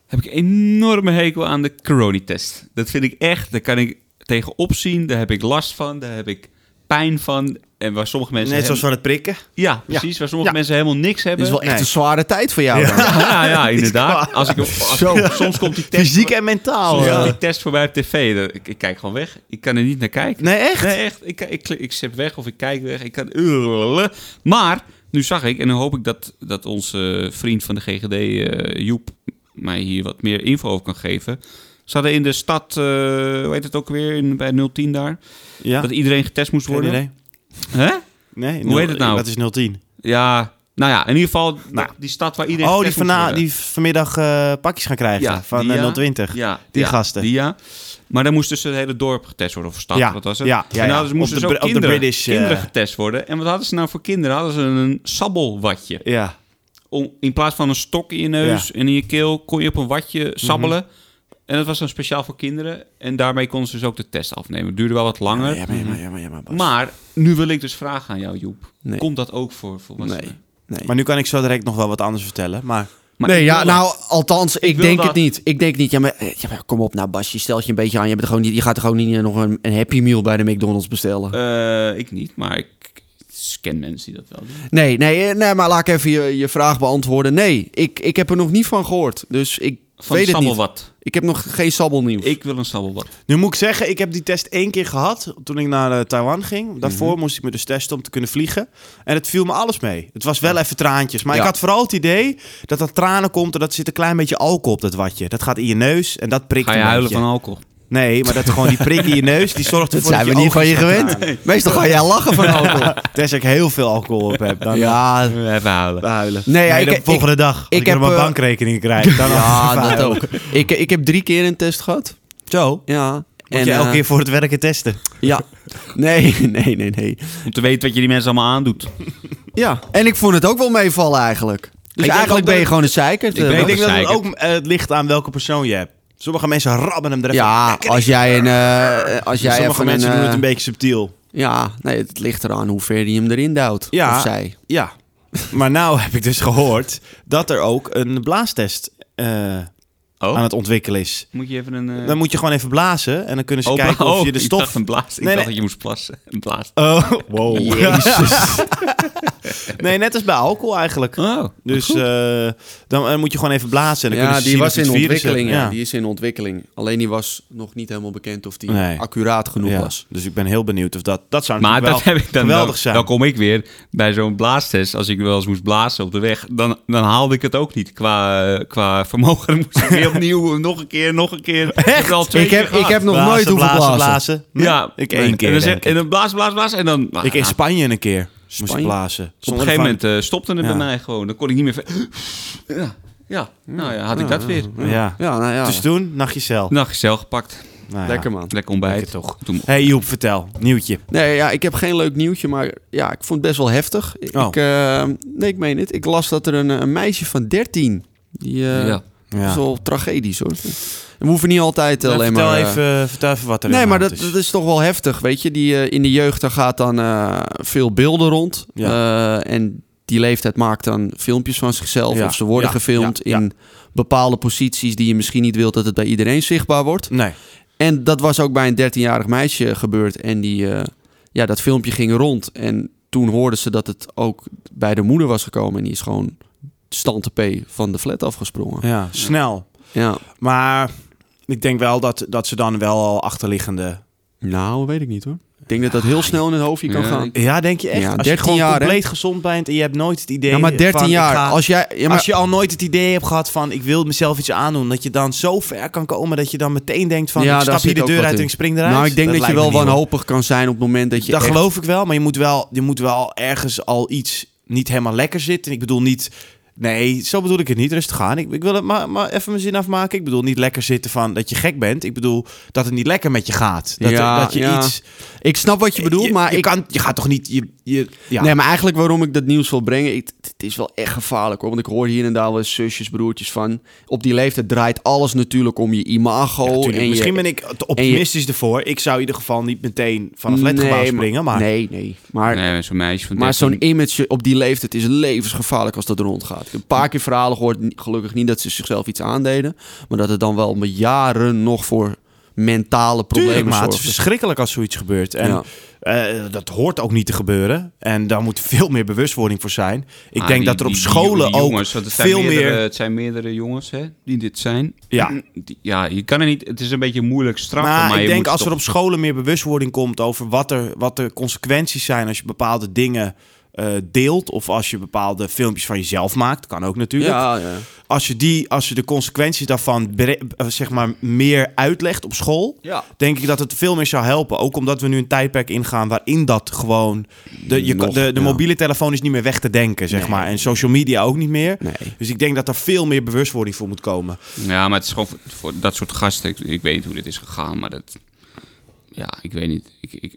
[SPEAKER 4] heb ik een enorme hekel aan de coronatest. Dat vind ik echt, daar kan ik tegen opzien. Daar heb ik last van, daar heb ik pijn van. En waar sommige mensen...
[SPEAKER 2] Net zoals
[SPEAKER 4] hem-
[SPEAKER 2] van het prikken.
[SPEAKER 4] Ja, precies. Waar sommige
[SPEAKER 2] Ja.
[SPEAKER 4] mensen helemaal niks hebben.
[SPEAKER 3] Dit is wel echt
[SPEAKER 2] Nee.
[SPEAKER 3] een zware tijd voor jou. dan.
[SPEAKER 4] Ja, ja, inderdaad. Als ik, als- soms komt die test...
[SPEAKER 2] Fysiek en mentaal.
[SPEAKER 4] Soms
[SPEAKER 2] Ja.
[SPEAKER 4] komt die test voorbij op tv. Dan- Ik, ik kijk gewoon weg. Ik kan er niet naar kijken.
[SPEAKER 2] Nee, echt?
[SPEAKER 4] Nee, echt. Ik, ik, ik, ik zet weg of ik kijk weg. Ik kan... Maar, nu zag ik, en dan hoop ik dat, dat onze vriend van de GGD, eh, Joep, mij hier wat meer info over kan geven. Ze hadden in de stad, eh, hoe heet het ook weer, in, bij 010 daar,
[SPEAKER 2] Ja.
[SPEAKER 4] dat iedereen getest moest
[SPEAKER 2] Nee,
[SPEAKER 4] worden.
[SPEAKER 2] nee,
[SPEAKER 4] Hè?
[SPEAKER 2] nee. Nee,
[SPEAKER 4] Hoe heet het nou?
[SPEAKER 2] Dat is 010.
[SPEAKER 4] Ja, nou ja, in ieder geval
[SPEAKER 2] Nou.
[SPEAKER 4] die stad waar iedereen
[SPEAKER 2] Oh, die,
[SPEAKER 4] getest moest
[SPEAKER 2] vana-
[SPEAKER 4] worden.
[SPEAKER 2] die vanmiddag eh, pakjes gaan krijgen van
[SPEAKER 4] die
[SPEAKER 2] eh,
[SPEAKER 4] ja.
[SPEAKER 2] 020.
[SPEAKER 4] Ja,
[SPEAKER 2] Die
[SPEAKER 4] ja,
[SPEAKER 2] gasten.
[SPEAKER 4] Die ja. Maar dan moest dus het hele dorp getest worden, of stad,
[SPEAKER 2] Ja,
[SPEAKER 4] wat was het?
[SPEAKER 2] ja, ja,
[SPEAKER 4] En dan
[SPEAKER 2] ja.
[SPEAKER 4] hadden ze, moesten
[SPEAKER 2] Op de
[SPEAKER 4] dus ook
[SPEAKER 2] Br- op de
[SPEAKER 4] kinderen,
[SPEAKER 2] British, eh,
[SPEAKER 4] kinderen getest worden. En wat hadden ze nou voor kinderen? Hadden ze een sabbelwatje.
[SPEAKER 2] Ja.
[SPEAKER 4] Om, in plaats van een stok in je neus en in je keel, kon je op een
[SPEAKER 2] Mhm.
[SPEAKER 4] watje sabbelen. En dat was dan speciaal voor kinderen. En daarmee konden ze dus ook de test afnemen. Het duurde wel wat langer.
[SPEAKER 3] Ja, maar, ja, maar, ja, maar, ja, maar, Bas.
[SPEAKER 4] Maar nu wil ik dus vragen aan jou, Joep.
[SPEAKER 3] Nee.
[SPEAKER 4] Komt dat ook voor volwassenen?
[SPEAKER 3] Nee. Nee.
[SPEAKER 2] Maar nu kan ik zo direct nog wel wat anders vertellen. Maar
[SPEAKER 4] Maar
[SPEAKER 3] nee,
[SPEAKER 4] ik
[SPEAKER 3] ja,
[SPEAKER 4] wil dat.
[SPEAKER 3] nou, althans, ik,
[SPEAKER 4] wil
[SPEAKER 3] denk
[SPEAKER 4] dat.
[SPEAKER 3] het niet. Ik denk niet. Ja maar, eh, ja, maar kom op nou, Bas, je stelt je een beetje aan. Je, bent er gewoon niet, je gaat er gewoon niet eh, nog een, een Happy Meal bij de McDonald's bestellen.
[SPEAKER 4] Eh, ik niet, maar ik ik ken mensen die dat wel doen.
[SPEAKER 3] Nee, nee, eh, nee, maar laat ik even je, je vraag beantwoorden. Nee, ik, ik heb er nog niet van gehoord. Dus ik
[SPEAKER 4] Van
[SPEAKER 3] weet het niet.
[SPEAKER 4] sabbelwat.
[SPEAKER 3] Ik heb nog geen sabbelnieuws.
[SPEAKER 4] Ik wil een sabbelwat.
[SPEAKER 2] nu moet ik zeggen, ik heb die test één keer gehad toen ik naar eh, Taiwan ging. Daarvoor moest ik me dus testen om te kunnen vliegen. En het viel me alles mee. Het was wel even traantjes. Maar
[SPEAKER 3] Ja.
[SPEAKER 2] ik had vooral het idee dat er tranen komt en dat zit een klein beetje alcohol op dat watje. Dat gaat in je neus en dat prikt
[SPEAKER 4] Ga je
[SPEAKER 2] een
[SPEAKER 4] huilen
[SPEAKER 2] beetje.
[SPEAKER 4] van alcohol?
[SPEAKER 2] Nee, maar dat gewoon die prik in je neus, die zorgt
[SPEAKER 3] dat
[SPEAKER 2] ervoor dat,
[SPEAKER 3] zijn we niet van je gewend. Meestal ga jij lachen van alcohol.
[SPEAKER 2] Tenzij ik heel veel alcohol op heb, dan
[SPEAKER 3] Ja,
[SPEAKER 4] Even huilen.
[SPEAKER 2] huilen.
[SPEAKER 3] Nee, ja, ik-
[SPEAKER 2] de
[SPEAKER 3] ik-
[SPEAKER 2] volgende dag. Als ik,
[SPEAKER 3] ik
[SPEAKER 2] heb
[SPEAKER 3] heb,
[SPEAKER 2] mijn
[SPEAKER 3] eh,
[SPEAKER 2] bankrekening krijg, dan
[SPEAKER 3] ja dat ook. Ik, ik heb drie keer een test gehad.
[SPEAKER 2] Zo.
[SPEAKER 3] Ja.
[SPEAKER 2] Moet je elke
[SPEAKER 3] eh,
[SPEAKER 2] keer voor het werken testen.
[SPEAKER 3] Ja. Nee, nee, nee, nee.
[SPEAKER 4] Om te weten wat je die mensen allemaal aandoet.
[SPEAKER 3] Ja. En ik vond het ook wel meevallen eigenlijk. Dus
[SPEAKER 2] denk ook
[SPEAKER 3] eigenlijk ben je
[SPEAKER 2] dat-
[SPEAKER 3] gewoon een zeikert. eh,
[SPEAKER 4] ben-
[SPEAKER 2] ik
[SPEAKER 3] Bas.
[SPEAKER 2] denk dat het
[SPEAKER 4] Zeker.
[SPEAKER 2] ook eh, het ligt aan welke persoon je hebt. Sommige mensen rabben hem er even
[SPEAKER 3] Ja,
[SPEAKER 2] lekker in.
[SPEAKER 3] als jij een... eh, als jij
[SPEAKER 2] Sommige
[SPEAKER 3] even
[SPEAKER 2] mensen
[SPEAKER 3] een,
[SPEAKER 2] doen het
[SPEAKER 3] eh,
[SPEAKER 2] een beetje subtiel.
[SPEAKER 3] Ja, nee, het ligt eraan hoe ver die hem erin duwt.
[SPEAKER 2] Ja.
[SPEAKER 3] Of zij.
[SPEAKER 2] Ja. maar nou heb ik dus gehoord dat er ook een blaastest eh,
[SPEAKER 4] Oh?
[SPEAKER 2] aan het ontwikkelen is.
[SPEAKER 4] Moet je even een... eh,
[SPEAKER 2] Dan moet je gewoon even blazen en dan kunnen ze
[SPEAKER 4] open-
[SPEAKER 2] kijken of
[SPEAKER 4] Oh,
[SPEAKER 2] je de
[SPEAKER 4] Ik
[SPEAKER 2] stof...
[SPEAKER 4] dacht een blaas.
[SPEAKER 2] Nee,
[SPEAKER 4] Ik dacht
[SPEAKER 2] nee.
[SPEAKER 4] dat je moest plassen. Een blaas.
[SPEAKER 2] Oh, wow. nee, net als bij alcohol eigenlijk.
[SPEAKER 4] Oh,
[SPEAKER 2] Dus eh, dan eh, moet je gewoon even blazen. En dan kunnen
[SPEAKER 3] Ja,
[SPEAKER 2] ze
[SPEAKER 3] die
[SPEAKER 2] zien
[SPEAKER 3] was
[SPEAKER 2] of je
[SPEAKER 3] in
[SPEAKER 2] het virus
[SPEAKER 3] ontwikkeling.
[SPEAKER 2] hebt.
[SPEAKER 3] Ja. Die is in ontwikkeling. Alleen die was nog niet helemaal bekend of die
[SPEAKER 2] Nee.
[SPEAKER 3] accuraat genoeg
[SPEAKER 2] Ja,
[SPEAKER 3] was.
[SPEAKER 2] Dus ik ben heel benieuwd of dat... Dat zou
[SPEAKER 4] Maar
[SPEAKER 2] natuurlijk
[SPEAKER 4] dat
[SPEAKER 2] wel
[SPEAKER 4] heb ik dan
[SPEAKER 2] geweldig
[SPEAKER 4] wel-
[SPEAKER 2] zijn.
[SPEAKER 4] Dan kom ik weer bij zo'n blaastest. Als ik wel eens moest blazen op de weg, dan, dan haalde ik het ook niet. Qua, eh, qua vermogen Dan moest ik weer opnieuw, nog een keer, nog een keer. Echt? Al twee
[SPEAKER 3] Ik heb,
[SPEAKER 4] keer
[SPEAKER 3] ik heb
[SPEAKER 4] gehad.
[SPEAKER 3] nog
[SPEAKER 2] Blazen,
[SPEAKER 3] nooit hoeven
[SPEAKER 2] blazen,
[SPEAKER 3] blazen.
[SPEAKER 2] blazen.
[SPEAKER 4] Ja,
[SPEAKER 2] ik
[SPEAKER 4] en
[SPEAKER 2] één
[SPEAKER 4] dan
[SPEAKER 2] keer.
[SPEAKER 4] zeg-
[SPEAKER 2] denk ik.
[SPEAKER 4] En dan blaas, blaas, blaas. En dan... nou,
[SPEAKER 2] ik in
[SPEAKER 4] nou,
[SPEAKER 2] Spanje een keer moest ik
[SPEAKER 3] Spanje?
[SPEAKER 2] blazen.
[SPEAKER 4] Op een
[SPEAKER 2] Zonder
[SPEAKER 4] gegeven
[SPEAKER 2] van-
[SPEAKER 4] moment eh, stopte het
[SPEAKER 2] Ja.
[SPEAKER 4] bij mij gewoon. Dan kon ik niet meer... ver- Ja, ja. nou ja, had ik dat weer.
[SPEAKER 2] Ja.
[SPEAKER 3] Ja, nou ja.
[SPEAKER 2] Dus toen, nachtje cel.
[SPEAKER 4] Nou, gezellig gepakt.
[SPEAKER 2] Nou ja.
[SPEAKER 3] Lekker man.
[SPEAKER 4] Lekker ontbijt.
[SPEAKER 2] Lekker toch.
[SPEAKER 4] Toen
[SPEAKER 2] hey, Joep, vertel. Nieuwtje.
[SPEAKER 3] Nee, ja, ik heb geen leuk nieuwtje, maar ja, ik vond het best wel heftig.
[SPEAKER 2] Oh.
[SPEAKER 3] Ik, eh, nee, ik meen het. Ik las dat er een, eh, een meisje van 13. Die, eh,
[SPEAKER 4] Ja.
[SPEAKER 3] Dat
[SPEAKER 2] Ja.
[SPEAKER 3] is wel tragedisch hoor. We hoeven niet altijd
[SPEAKER 2] Nou,
[SPEAKER 3] alleen
[SPEAKER 2] vertel,
[SPEAKER 3] maar... eh,
[SPEAKER 2] even, vertel even wat er
[SPEAKER 3] Nee,
[SPEAKER 2] aan
[SPEAKER 3] maar
[SPEAKER 2] de
[SPEAKER 3] dat,
[SPEAKER 2] hand
[SPEAKER 3] dat is toch wel heftig, weet je. Die, eh, in de jeugd daar gaat dan eh, veel beelden rond. Eh, en die leeftijd maakt dan filmpjes van zichzelf.
[SPEAKER 2] Ja,
[SPEAKER 3] Of ze worden
[SPEAKER 2] ja,
[SPEAKER 3] gefilmd
[SPEAKER 2] ja, ja.
[SPEAKER 3] in bepaalde posities die je misschien niet wilt dat het bij iedereen zichtbaar wordt.
[SPEAKER 2] Nee.
[SPEAKER 3] En dat was ook bij een 13-jarig meisje gebeurd. En die, eh, ja, dat filmpje ging rond. En toen hoorden ze dat het ook bij de moeder was gekomen. En die is gewoon stand te p van de flat afgesprongen.
[SPEAKER 2] Ja, snel.
[SPEAKER 3] Ja.
[SPEAKER 2] Maar ik denk wel dat, dat ze dan wel al achterliggende...
[SPEAKER 3] Nou, weet ik niet hoor. Ik denk dat dat heel snel in hun hoofdje kan
[SPEAKER 4] Ja,
[SPEAKER 3] gaan.
[SPEAKER 4] ik-
[SPEAKER 2] Ja, denk je echt?
[SPEAKER 3] Ja,
[SPEAKER 2] als je
[SPEAKER 3] 13
[SPEAKER 2] gewoon
[SPEAKER 3] jaar, hè?
[SPEAKER 2] compleet gezond bent en je hebt nooit het idee...
[SPEAKER 3] Ja, maar 13
[SPEAKER 2] van, ik
[SPEAKER 3] jaar.
[SPEAKER 2] ga- Ah,
[SPEAKER 3] Als jij... Ja, maar,
[SPEAKER 2] Als je al nooit het idee hebt gehad van ik wil mezelf iets aandoen, dat je dan zo ver kan komen dat je dan meteen denkt van
[SPEAKER 3] Ja,
[SPEAKER 2] ik
[SPEAKER 3] daar
[SPEAKER 2] stap hier
[SPEAKER 3] zit
[SPEAKER 2] de
[SPEAKER 3] ook
[SPEAKER 2] deur
[SPEAKER 3] wat
[SPEAKER 2] uit en
[SPEAKER 3] in.
[SPEAKER 2] ik spring eruit.
[SPEAKER 3] nou, ik denk dat, je
[SPEAKER 2] lijkt me
[SPEAKER 3] wel
[SPEAKER 2] niet, hoor.
[SPEAKER 3] wanhoopig kan zijn op het moment dat je
[SPEAKER 2] Dat
[SPEAKER 3] echt-
[SPEAKER 2] geloof ik wel, maar je moet wel, je moet wel ergens al iets niet helemaal lekker zitten. Ik bedoel niet, nee, zo bedoel ik het niet, rustig aan. Ik, ik wil het maar, maar even mijn zin afmaken. Ik bedoel niet lekker zitten van dat je gek bent. Ik bedoel dat het niet lekker met je gaat. Dat,
[SPEAKER 3] Ja,
[SPEAKER 2] dat je
[SPEAKER 3] ja.
[SPEAKER 2] iets...
[SPEAKER 3] Ik snap wat je bedoelt,
[SPEAKER 2] je,
[SPEAKER 3] maar
[SPEAKER 2] je
[SPEAKER 3] ik...
[SPEAKER 2] Kan, je gaat toch niet... Je, je, ja.
[SPEAKER 3] Nee, maar eigenlijk waarom ik dat nieuws wil brengen... ik- het is wel echt gevaarlijk hoor. Want ik hoor hier en daar wel eens zusjes, broertjes van... Op die leeftijd draait alles natuurlijk om je imago.
[SPEAKER 2] Ja,
[SPEAKER 3] en
[SPEAKER 2] natuurlijk.
[SPEAKER 3] je,
[SPEAKER 2] Misschien ben ik te optimistisch ervoor. Ik zou in ieder geval niet meteen vanaf het
[SPEAKER 3] Nee,
[SPEAKER 2] letgebouw springen, maar...
[SPEAKER 3] Nee, nee. Maar,
[SPEAKER 4] Nee, zo'n meisje van
[SPEAKER 3] maar
[SPEAKER 4] 13.
[SPEAKER 3] zo'n image op die leeftijd is levensgevaarlijk als dat rondgaat. Ik heb een paar keer verhalen gehoord, ni- gelukkig niet dat ze zichzelf iets aandeden... maar dat het dan wel met jaren nog voor mentale
[SPEAKER 2] Tuurlijk,
[SPEAKER 3] problemen
[SPEAKER 2] maar het is
[SPEAKER 3] zorgt.
[SPEAKER 2] verschrikkelijk als zoiets gebeurt. En
[SPEAKER 3] Ja.
[SPEAKER 2] eh, dat hoort ook niet te gebeuren. En daar moet veel meer bewustwording voor zijn. Ik
[SPEAKER 4] Ah,
[SPEAKER 2] denk
[SPEAKER 4] die-
[SPEAKER 2] dat er op
[SPEAKER 4] die- die-
[SPEAKER 2] scholen
[SPEAKER 4] die jongens,
[SPEAKER 2] ook
[SPEAKER 4] want het zijn
[SPEAKER 2] veel
[SPEAKER 4] meerdere-
[SPEAKER 2] meer...
[SPEAKER 4] Het zijn meerdere jongens hè, die dit zijn.
[SPEAKER 2] Ja.
[SPEAKER 4] Die- ja, je kan er niet... Het is een beetje moeilijk straffen, maar,
[SPEAKER 2] Maar
[SPEAKER 4] je
[SPEAKER 2] ik
[SPEAKER 4] moet
[SPEAKER 2] denk als
[SPEAKER 4] toch-
[SPEAKER 2] er op scholen meer bewustwording komt over wat, er, wat de consequenties zijn als je bepaalde dingen eh, deelt. Of als je bepaalde filmpjes van jezelf maakt. Kan ook natuurlijk.
[SPEAKER 3] Ja, ja.
[SPEAKER 2] Als, je die, als je de consequenties daarvan bre- eh, zeg maar, meer uitlegt op school.
[SPEAKER 3] Ja.
[SPEAKER 2] denk ik dat het veel meer zou helpen. Ook omdat we nu een tijdperk ingaan waarin dat gewoon... De, je,
[SPEAKER 3] Nog,
[SPEAKER 2] de, de
[SPEAKER 3] ja.
[SPEAKER 2] mobiele telefoon is niet meer weg te denken, zeg maar. En social media ook niet meer.
[SPEAKER 3] Nee.
[SPEAKER 2] Dus ik denk dat er veel meer bewustwording voor moet komen.
[SPEAKER 4] Ja, maar het is gewoon voor, voor dat soort gasten. Ik, ik weet niet hoe dit is gegaan, maar dat... Ja, ik weet niet. Ik, ik,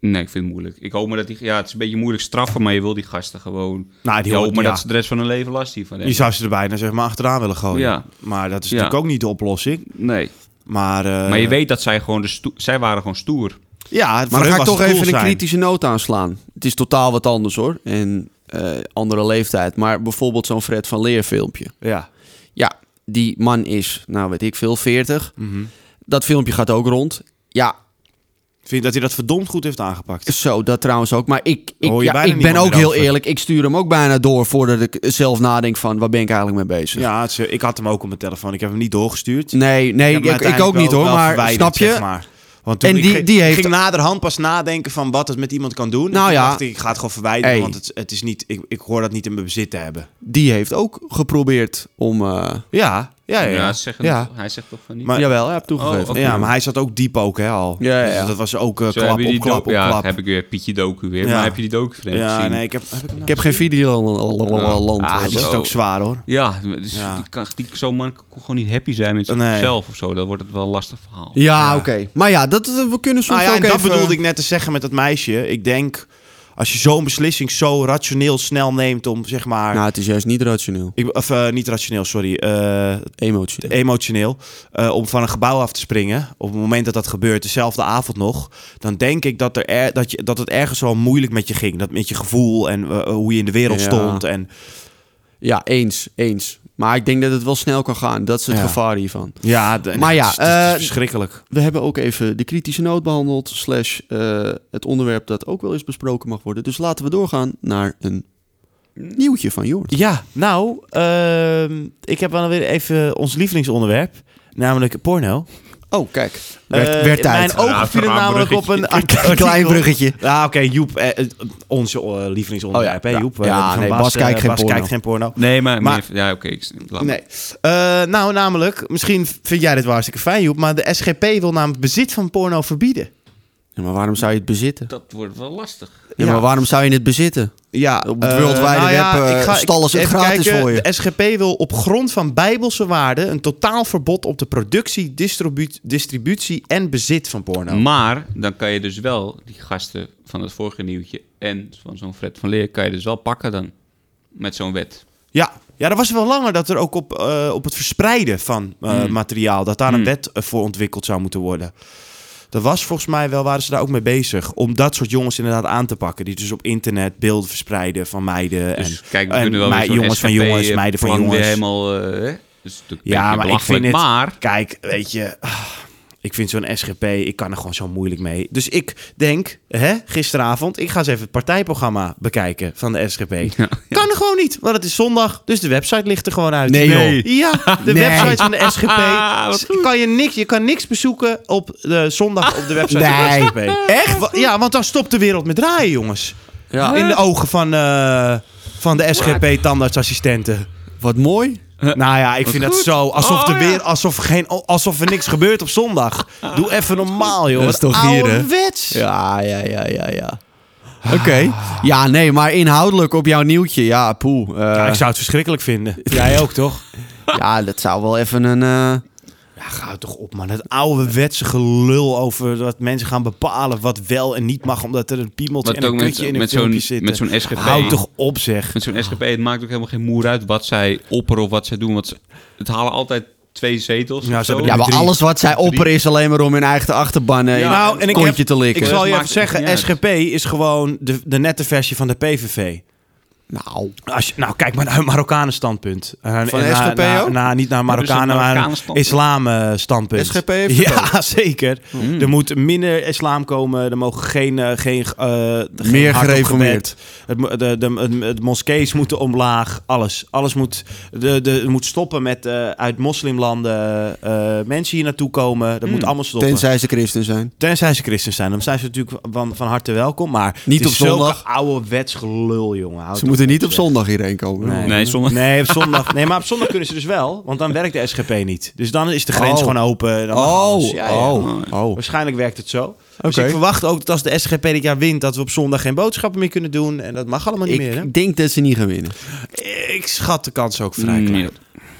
[SPEAKER 4] nee, ik vind het moeilijk. Ik hoop maar dat die... Ja, het is een beetje moeilijk straffen, maar je wil die gasten gewoon...
[SPEAKER 2] Nou, die
[SPEAKER 4] je
[SPEAKER 2] hoort,
[SPEAKER 4] hoopt maar
[SPEAKER 2] ja.
[SPEAKER 4] dat ze de rest van hun leven last hiervan
[SPEAKER 2] Je
[SPEAKER 4] hebben.
[SPEAKER 2] zou ze er bijna zeg maar, achteraan willen gooien.
[SPEAKER 4] Ja.
[SPEAKER 2] Maar dat is
[SPEAKER 4] Ja.
[SPEAKER 2] natuurlijk ook niet de oplossing.
[SPEAKER 4] Nee.
[SPEAKER 2] Maar, eh,
[SPEAKER 4] Maar je weet dat zij gewoon de stoer... Zij waren gewoon stoer.
[SPEAKER 2] Ja, voor
[SPEAKER 3] Maar
[SPEAKER 2] hun
[SPEAKER 3] dan ga ik
[SPEAKER 2] was
[SPEAKER 3] toch
[SPEAKER 2] het cool
[SPEAKER 3] even een
[SPEAKER 2] zijn.
[SPEAKER 3] kritische noot aanslaan. Het is totaal wat anders hoor. En eh, andere leeftijd. Maar bijvoorbeeld zo'n Fred van Leer filmpje.
[SPEAKER 2] Ja.
[SPEAKER 3] Ja, die man is, nou weet ik veel, 40.
[SPEAKER 4] Mhm.
[SPEAKER 3] Dat filmpje gaat ook rond. Ja,
[SPEAKER 2] Ik vind dat hij dat verdomd goed heeft aangepakt.
[SPEAKER 3] zo, dat trouwens ook. Maar ik, ik,
[SPEAKER 2] Hoor je
[SPEAKER 3] ja,
[SPEAKER 2] bijna
[SPEAKER 3] ik ben
[SPEAKER 2] niemand
[SPEAKER 3] ook
[SPEAKER 2] meer
[SPEAKER 3] heel
[SPEAKER 2] over.
[SPEAKER 3] eerlijk. Ik stuur hem ook bijna door voordat ik zelf nadenk van... waar ben ik eigenlijk mee bezig?
[SPEAKER 2] Ja, het is, eh, ik had hem ook op mijn telefoon. Ik heb hem niet doorgestuurd.
[SPEAKER 3] Nee,
[SPEAKER 2] Ik
[SPEAKER 3] nee,
[SPEAKER 2] heb
[SPEAKER 3] ik,
[SPEAKER 2] hem
[SPEAKER 3] ik ook
[SPEAKER 2] uiteindelijk
[SPEAKER 3] niet
[SPEAKER 2] wel-
[SPEAKER 3] hoor.
[SPEAKER 2] wel
[SPEAKER 3] Maar
[SPEAKER 2] verwijderd,
[SPEAKER 3] snap je?
[SPEAKER 2] zeg maar. Want toen
[SPEAKER 3] En
[SPEAKER 2] ik
[SPEAKER 3] die-
[SPEAKER 2] ging,
[SPEAKER 3] die
[SPEAKER 2] ik
[SPEAKER 3] heeft-
[SPEAKER 2] ging naderhand pas nadenken van wat het met iemand kan doen.
[SPEAKER 3] Nou
[SPEAKER 2] En toen
[SPEAKER 3] ja.
[SPEAKER 2] dacht ik, ik ga het gewoon verwijderen,
[SPEAKER 3] Hey.
[SPEAKER 2] want het, het is niet, ik, ik hoor dat niet in mijn bezit te hebben.
[SPEAKER 3] Die heeft ook geprobeerd om... eh,
[SPEAKER 2] Ja, ja, ja.
[SPEAKER 4] Ja,
[SPEAKER 2] ja,
[SPEAKER 4] ze zeggen
[SPEAKER 3] Ja.
[SPEAKER 4] toch- hij zegt toch van niet.
[SPEAKER 2] Maar-
[SPEAKER 3] Jawel, hij heeft toegegeven.
[SPEAKER 4] Oh, oké.
[SPEAKER 2] maar hij zat ook diep ook, hè, al.
[SPEAKER 3] Ja, ja, ja.
[SPEAKER 2] Dus dat was ook eh,
[SPEAKER 4] Zo
[SPEAKER 2] klap
[SPEAKER 4] hebben
[SPEAKER 2] op
[SPEAKER 4] jullie die
[SPEAKER 2] klap
[SPEAKER 4] docu-
[SPEAKER 2] op
[SPEAKER 4] ja,
[SPEAKER 2] klap.
[SPEAKER 4] heb ik weer Pietje Doku weer.
[SPEAKER 2] Ja.
[SPEAKER 4] Maar heb je die docu van hem
[SPEAKER 2] ja,
[SPEAKER 4] gezien?
[SPEAKER 2] nee, ik heb... heb ik hem nou-
[SPEAKER 3] Ik heb geen video land. dus
[SPEAKER 4] Ah,
[SPEAKER 2] Ah, dat is
[SPEAKER 4] zo.
[SPEAKER 2] het ook zwaar, hoor.
[SPEAKER 4] Ja, dus
[SPEAKER 2] Ja.
[SPEAKER 4] Die kan, die, zo'n man kon gewoon niet happy zijn met
[SPEAKER 2] Nee.
[SPEAKER 4] zichzelf of zo. Dan wordt het wel een lastig verhaal.
[SPEAKER 3] Ja, oké. Maar ja, dat, dat- we kunnen soms
[SPEAKER 2] Nou ja, en
[SPEAKER 3] ook
[SPEAKER 2] dat
[SPEAKER 3] even...
[SPEAKER 2] bedoelde ik net te zeggen met dat meisje. Ik denk, als je zo'n beslissing zo rationeel snel neemt om, zeg maar...
[SPEAKER 3] Nou, het is juist niet rationeel.
[SPEAKER 2] ik, of eh, niet rationeel, sorry. eh,
[SPEAKER 3] Emotie.
[SPEAKER 2] emotioneel eh, om van een gebouw af te springen. Op het moment dat dat gebeurt, dezelfde avond nog, dan denk ik dat, er er- dat, je, dat het ergens wel moeilijk met je ging. Dat met je gevoel en eh, hoe je in de wereld
[SPEAKER 3] Ja.
[SPEAKER 2] stond. En,
[SPEAKER 3] Ja, eens, eens. Maar ik denk dat het wel snel kan gaan. Dat is het
[SPEAKER 2] Ja.
[SPEAKER 3] gevaar hiervan.
[SPEAKER 2] ja, d-
[SPEAKER 3] Maar ja,
[SPEAKER 2] het is, het is
[SPEAKER 3] eh,
[SPEAKER 2] verschrikkelijk.
[SPEAKER 3] We hebben ook even de kritische noot behandeld. Slash eh, het onderwerp dat ook wel eens besproken mag worden. Dus laten we doorgaan naar een nieuwtje van Jord.
[SPEAKER 2] Ja, nou, ehm, ik heb wel weer even ons lievelingsonderwerp, namelijk porno.
[SPEAKER 3] Oh, kijk.
[SPEAKER 2] Eh,
[SPEAKER 3] Werd, werd tijd.
[SPEAKER 2] Mijn ogen
[SPEAKER 4] Raar-
[SPEAKER 2] vielen
[SPEAKER 4] raar
[SPEAKER 2] namelijk op een artikel.
[SPEAKER 3] Een klein bruggetje.
[SPEAKER 2] Ja, oké, Joep, eh, eh, onze eh, lievelingsonderwerp,
[SPEAKER 3] Oh ja,
[SPEAKER 2] hè,
[SPEAKER 3] ja.
[SPEAKER 2] Joep. Eh,
[SPEAKER 3] Ja,
[SPEAKER 2] van
[SPEAKER 3] nee, Bas kijkt
[SPEAKER 2] eh,
[SPEAKER 3] geen porno.
[SPEAKER 2] kijkt geen porno.
[SPEAKER 4] Nee, maar...
[SPEAKER 2] Maar-
[SPEAKER 4] meer- ja, oké. ik-
[SPEAKER 3] Oh.
[SPEAKER 4] laat maar.
[SPEAKER 2] Nee. Eh, nou, namelijk, misschien vind jij dit wel hartstikke fijn, Joep, maar de SGP wil namelijk bezit van porno verbieden.
[SPEAKER 3] Ja, maar waarom zou je het bezitten?
[SPEAKER 4] Dat wordt wel lastig.
[SPEAKER 3] Ja,
[SPEAKER 2] Ja.
[SPEAKER 3] maar waarom zou je het bezitten?
[SPEAKER 2] Ja,
[SPEAKER 3] Op het World Wide
[SPEAKER 2] nou
[SPEAKER 3] Web, eh, stallen ze het
[SPEAKER 2] even
[SPEAKER 3] gratis voor je.
[SPEAKER 2] De SGP wil op grond van bijbelse waarden een totaal verbod op de productie, distribu- distributie en bezit van porno.
[SPEAKER 4] Maar dan kan je dus wel die gasten van het vorige nieuwtje en van zo'n Fred van Leer... kan je dus wel pakken dan met zo'n wet.
[SPEAKER 2] Ja. ja, dat was wel langer dat er ook op, eh, op het verspreiden van eh, materiaal, dat daar een
[SPEAKER 4] Hmm.
[SPEAKER 2] wet eh, voor ontwikkeld zou moeten worden. Dat was volgens mij wel, waren ze daar ook mee bezig om dat soort jongens inderdaad aan te pakken. Die dus op internet beelden verspreiden van meiden.
[SPEAKER 4] Dus
[SPEAKER 2] en,
[SPEAKER 4] kijk, we
[SPEAKER 2] en
[SPEAKER 4] kunnen wel
[SPEAKER 2] mei-
[SPEAKER 4] weer zo'n
[SPEAKER 2] jongens van
[SPEAKER 4] SGP
[SPEAKER 2] jongens, meiden van
[SPEAKER 4] plan weer
[SPEAKER 2] jongens.
[SPEAKER 4] helemaal... eh, hè? Dus het is natuurlijk een
[SPEAKER 2] Ja,
[SPEAKER 4] beetje
[SPEAKER 2] maar ik
[SPEAKER 4] belachelijk,
[SPEAKER 2] vind het-
[SPEAKER 4] Maar
[SPEAKER 2] Kijk, weet je, ah, ik vind zo'n SGP, ik kan er gewoon zo moeilijk mee. Dus ik denk, hè, gisteravond, ik ga eens even het partijprogramma bekijken van de SGP.
[SPEAKER 4] Ja,
[SPEAKER 2] Kan er gewoon niet, want het is zondag. Dus de website ligt er gewoon uit.
[SPEAKER 3] Nee, joh.
[SPEAKER 2] Ja, de
[SPEAKER 3] Nee.
[SPEAKER 2] website van de SGP.
[SPEAKER 4] Ah, wat
[SPEAKER 2] Dus kan je, niks, je kan niks bezoeken op de zondag op de website
[SPEAKER 3] Nee.
[SPEAKER 2] van de SGP.
[SPEAKER 3] Echt?
[SPEAKER 2] Wa- Ja, want dan stopt de wereld met draaien, jongens.
[SPEAKER 3] Ja.
[SPEAKER 2] In de ogen van, eh, van de SGP-tandartsassistenten.
[SPEAKER 3] Wat mooi.
[SPEAKER 2] Nou ja, ik vind dat zo. Alsof,
[SPEAKER 4] Oh,
[SPEAKER 2] er
[SPEAKER 4] ja.
[SPEAKER 2] weer, alsof, geen, alsof er niks gebeurt op zondag. Doe even normaal, joh.
[SPEAKER 3] Dat is toch hier, hè?
[SPEAKER 2] Ouderwets.
[SPEAKER 3] Ja, ja, ja, ja, ja.
[SPEAKER 2] Ah.
[SPEAKER 3] Oké. Ja, nee, maar inhoudelijk op jouw nieuwtje. Ja, poeh. Eh,
[SPEAKER 2] Ja, ik zou het verschrikkelijk vinden. Jij ook, toch?
[SPEAKER 3] ja, dat zou wel even een... eh,
[SPEAKER 2] Ja, ga het toch op, man. Het ouderwetse gelul over dat mensen gaan bepalen wat wel en niet mag... omdat er een piemeltje
[SPEAKER 4] Maar
[SPEAKER 2] en een
[SPEAKER 4] ook
[SPEAKER 2] kutje
[SPEAKER 4] met,
[SPEAKER 2] in een
[SPEAKER 4] met
[SPEAKER 2] filmpje
[SPEAKER 4] zo'n
[SPEAKER 2] zitten.
[SPEAKER 4] met zo'n SGP.
[SPEAKER 2] Houd toch op, zeg.
[SPEAKER 4] Met zo'n SGP, het maakt ook helemaal geen moer uit wat zij opperen of wat zij doen. Want ze, het halen altijd twee zetels.
[SPEAKER 2] Ja, ze
[SPEAKER 4] of zo.
[SPEAKER 2] hebben
[SPEAKER 3] ja, maar
[SPEAKER 2] Drie.
[SPEAKER 3] alles wat zij opperen is alleen maar om hun eigen achterban eh,
[SPEAKER 4] Ja.
[SPEAKER 3] in het
[SPEAKER 2] Nou, en ik
[SPEAKER 3] kontje
[SPEAKER 2] heb-
[SPEAKER 3] te likken.
[SPEAKER 2] Ik zal
[SPEAKER 4] Dat
[SPEAKER 2] je
[SPEAKER 4] maakt
[SPEAKER 2] even
[SPEAKER 4] niet
[SPEAKER 2] zeggen,
[SPEAKER 4] uit.
[SPEAKER 2] SGP is gewoon de, de nette versie van de PVV.
[SPEAKER 3] Nou,
[SPEAKER 2] Als je, nou, kijk maar naar hun Marokkanen standpunt. Eh, En-
[SPEAKER 3] Van
[SPEAKER 2] en
[SPEAKER 3] de
[SPEAKER 2] na-
[SPEAKER 3] SGP
[SPEAKER 2] na-
[SPEAKER 3] ook?
[SPEAKER 2] na- niet naar Marokkanen,
[SPEAKER 4] een
[SPEAKER 2] maar
[SPEAKER 4] Marokkanen
[SPEAKER 2] een
[SPEAKER 4] standpunt.
[SPEAKER 2] islam eh, standpunt.
[SPEAKER 3] SGP heeft het
[SPEAKER 2] Ja, zeker.
[SPEAKER 4] Hmm.
[SPEAKER 2] Er moet minder islam komen. Er mogen geen... eh, geen eh, geen
[SPEAKER 3] Meer
[SPEAKER 2] hardop
[SPEAKER 3] gereformeerd.
[SPEAKER 2] gebed. Het, mo- de, de, de, de moskees moeten omlaag. Alles. Alles moet, de, de, het moet stoppen met eh, uit moslimlanden eh, mensen hier naartoe komen. Dat
[SPEAKER 4] Hmm.
[SPEAKER 2] moet allemaal stoppen.
[SPEAKER 3] tenzij ze christen zijn.
[SPEAKER 2] Tenzij ze christen zijn, dan zijn ze natuurlijk van, van harte welkom. Maar
[SPEAKER 3] Niet
[SPEAKER 2] het
[SPEAKER 3] op
[SPEAKER 2] is
[SPEAKER 3] zondag.
[SPEAKER 2] zulke ouderwets gelul, jongen. Houd
[SPEAKER 3] Ze
[SPEAKER 2] toch op,
[SPEAKER 3] moeten niet op
[SPEAKER 2] zeg.
[SPEAKER 3] zondag hierheen komen.
[SPEAKER 4] Nee, zondag.
[SPEAKER 2] Nee, op zondag. Nee, maar op zondag kunnen ze dus wel, want dan werkt de SGP niet. Dus dan is de grens
[SPEAKER 3] Oh.
[SPEAKER 2] gewoon open. Dan mag
[SPEAKER 3] Oh,
[SPEAKER 2] alles. Ja, ja.
[SPEAKER 3] oh, oh.
[SPEAKER 2] Waarschijnlijk werkt het zo. Dus
[SPEAKER 3] Oké.
[SPEAKER 2] ik verwacht ook dat als de SGP dit jaar wint, dat we op zondag geen boodschappen meer kunnen doen. En dat mag allemaal niet meer. Hè?
[SPEAKER 3] Ik denk dat ze niet gaan winnen.
[SPEAKER 2] Ik schat de kans ook vrij klein.
[SPEAKER 4] Nee.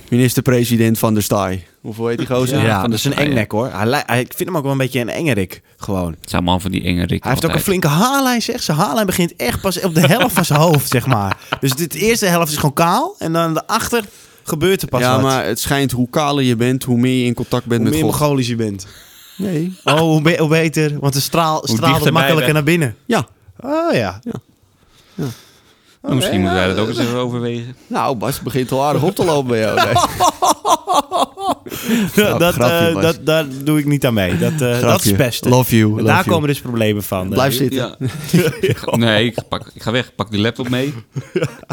[SPEAKER 3] Minister-president van der Staaij. Of hoe heet die gozer?
[SPEAKER 2] Ja,
[SPEAKER 4] Ja, van
[SPEAKER 2] dat
[SPEAKER 4] de
[SPEAKER 2] is een
[SPEAKER 4] Staaien.
[SPEAKER 2] engnek hoor. Hij, li- hij- ik vind hem ook wel een beetje een engerik, gewoon.
[SPEAKER 4] Het zijn man van die enge Rick.
[SPEAKER 2] Hij heeft ook een
[SPEAKER 4] altijd.
[SPEAKER 2] flinke haarlijn, zeg. Zijn haarlijn begint echt pas op de helft van zijn hoofd, zeg maar. Dus dit- de eerste helft is gewoon kaal. En dan daarachter gebeurt er pas
[SPEAKER 3] ja,
[SPEAKER 2] wat.
[SPEAKER 3] maar het schijnt hoe kaler je bent, hoe meer je in contact bent
[SPEAKER 2] hoe
[SPEAKER 3] met
[SPEAKER 2] meer
[SPEAKER 3] God.
[SPEAKER 2] Mongolisch je bent.
[SPEAKER 3] Nee.
[SPEAKER 2] Oh, hoe, be- hoe beter. Want de straal straalt
[SPEAKER 4] dichterbij
[SPEAKER 2] makkelijker
[SPEAKER 4] weg.
[SPEAKER 2] naar binnen.
[SPEAKER 3] Ja.
[SPEAKER 2] Oh ja.
[SPEAKER 4] Nou, misschien moeten wij dat ook eens even overwegen.
[SPEAKER 3] Nou, Bas het begint al aardig op te lopen bij jou. Nee.
[SPEAKER 2] dat,
[SPEAKER 3] grapje,
[SPEAKER 2] eh,
[SPEAKER 3] Bas.
[SPEAKER 2] dat, daar doe ik niet aan mee. Dat, eh, dat is
[SPEAKER 3] Grapje.
[SPEAKER 2] het beste.
[SPEAKER 3] Love you,
[SPEAKER 2] En
[SPEAKER 3] love
[SPEAKER 2] daar
[SPEAKER 3] you.
[SPEAKER 2] komen dus problemen van. eh.
[SPEAKER 3] Blijf zitten.
[SPEAKER 4] Ja. Nee, ik, pak, ik ga weg. Pak die laptop mee.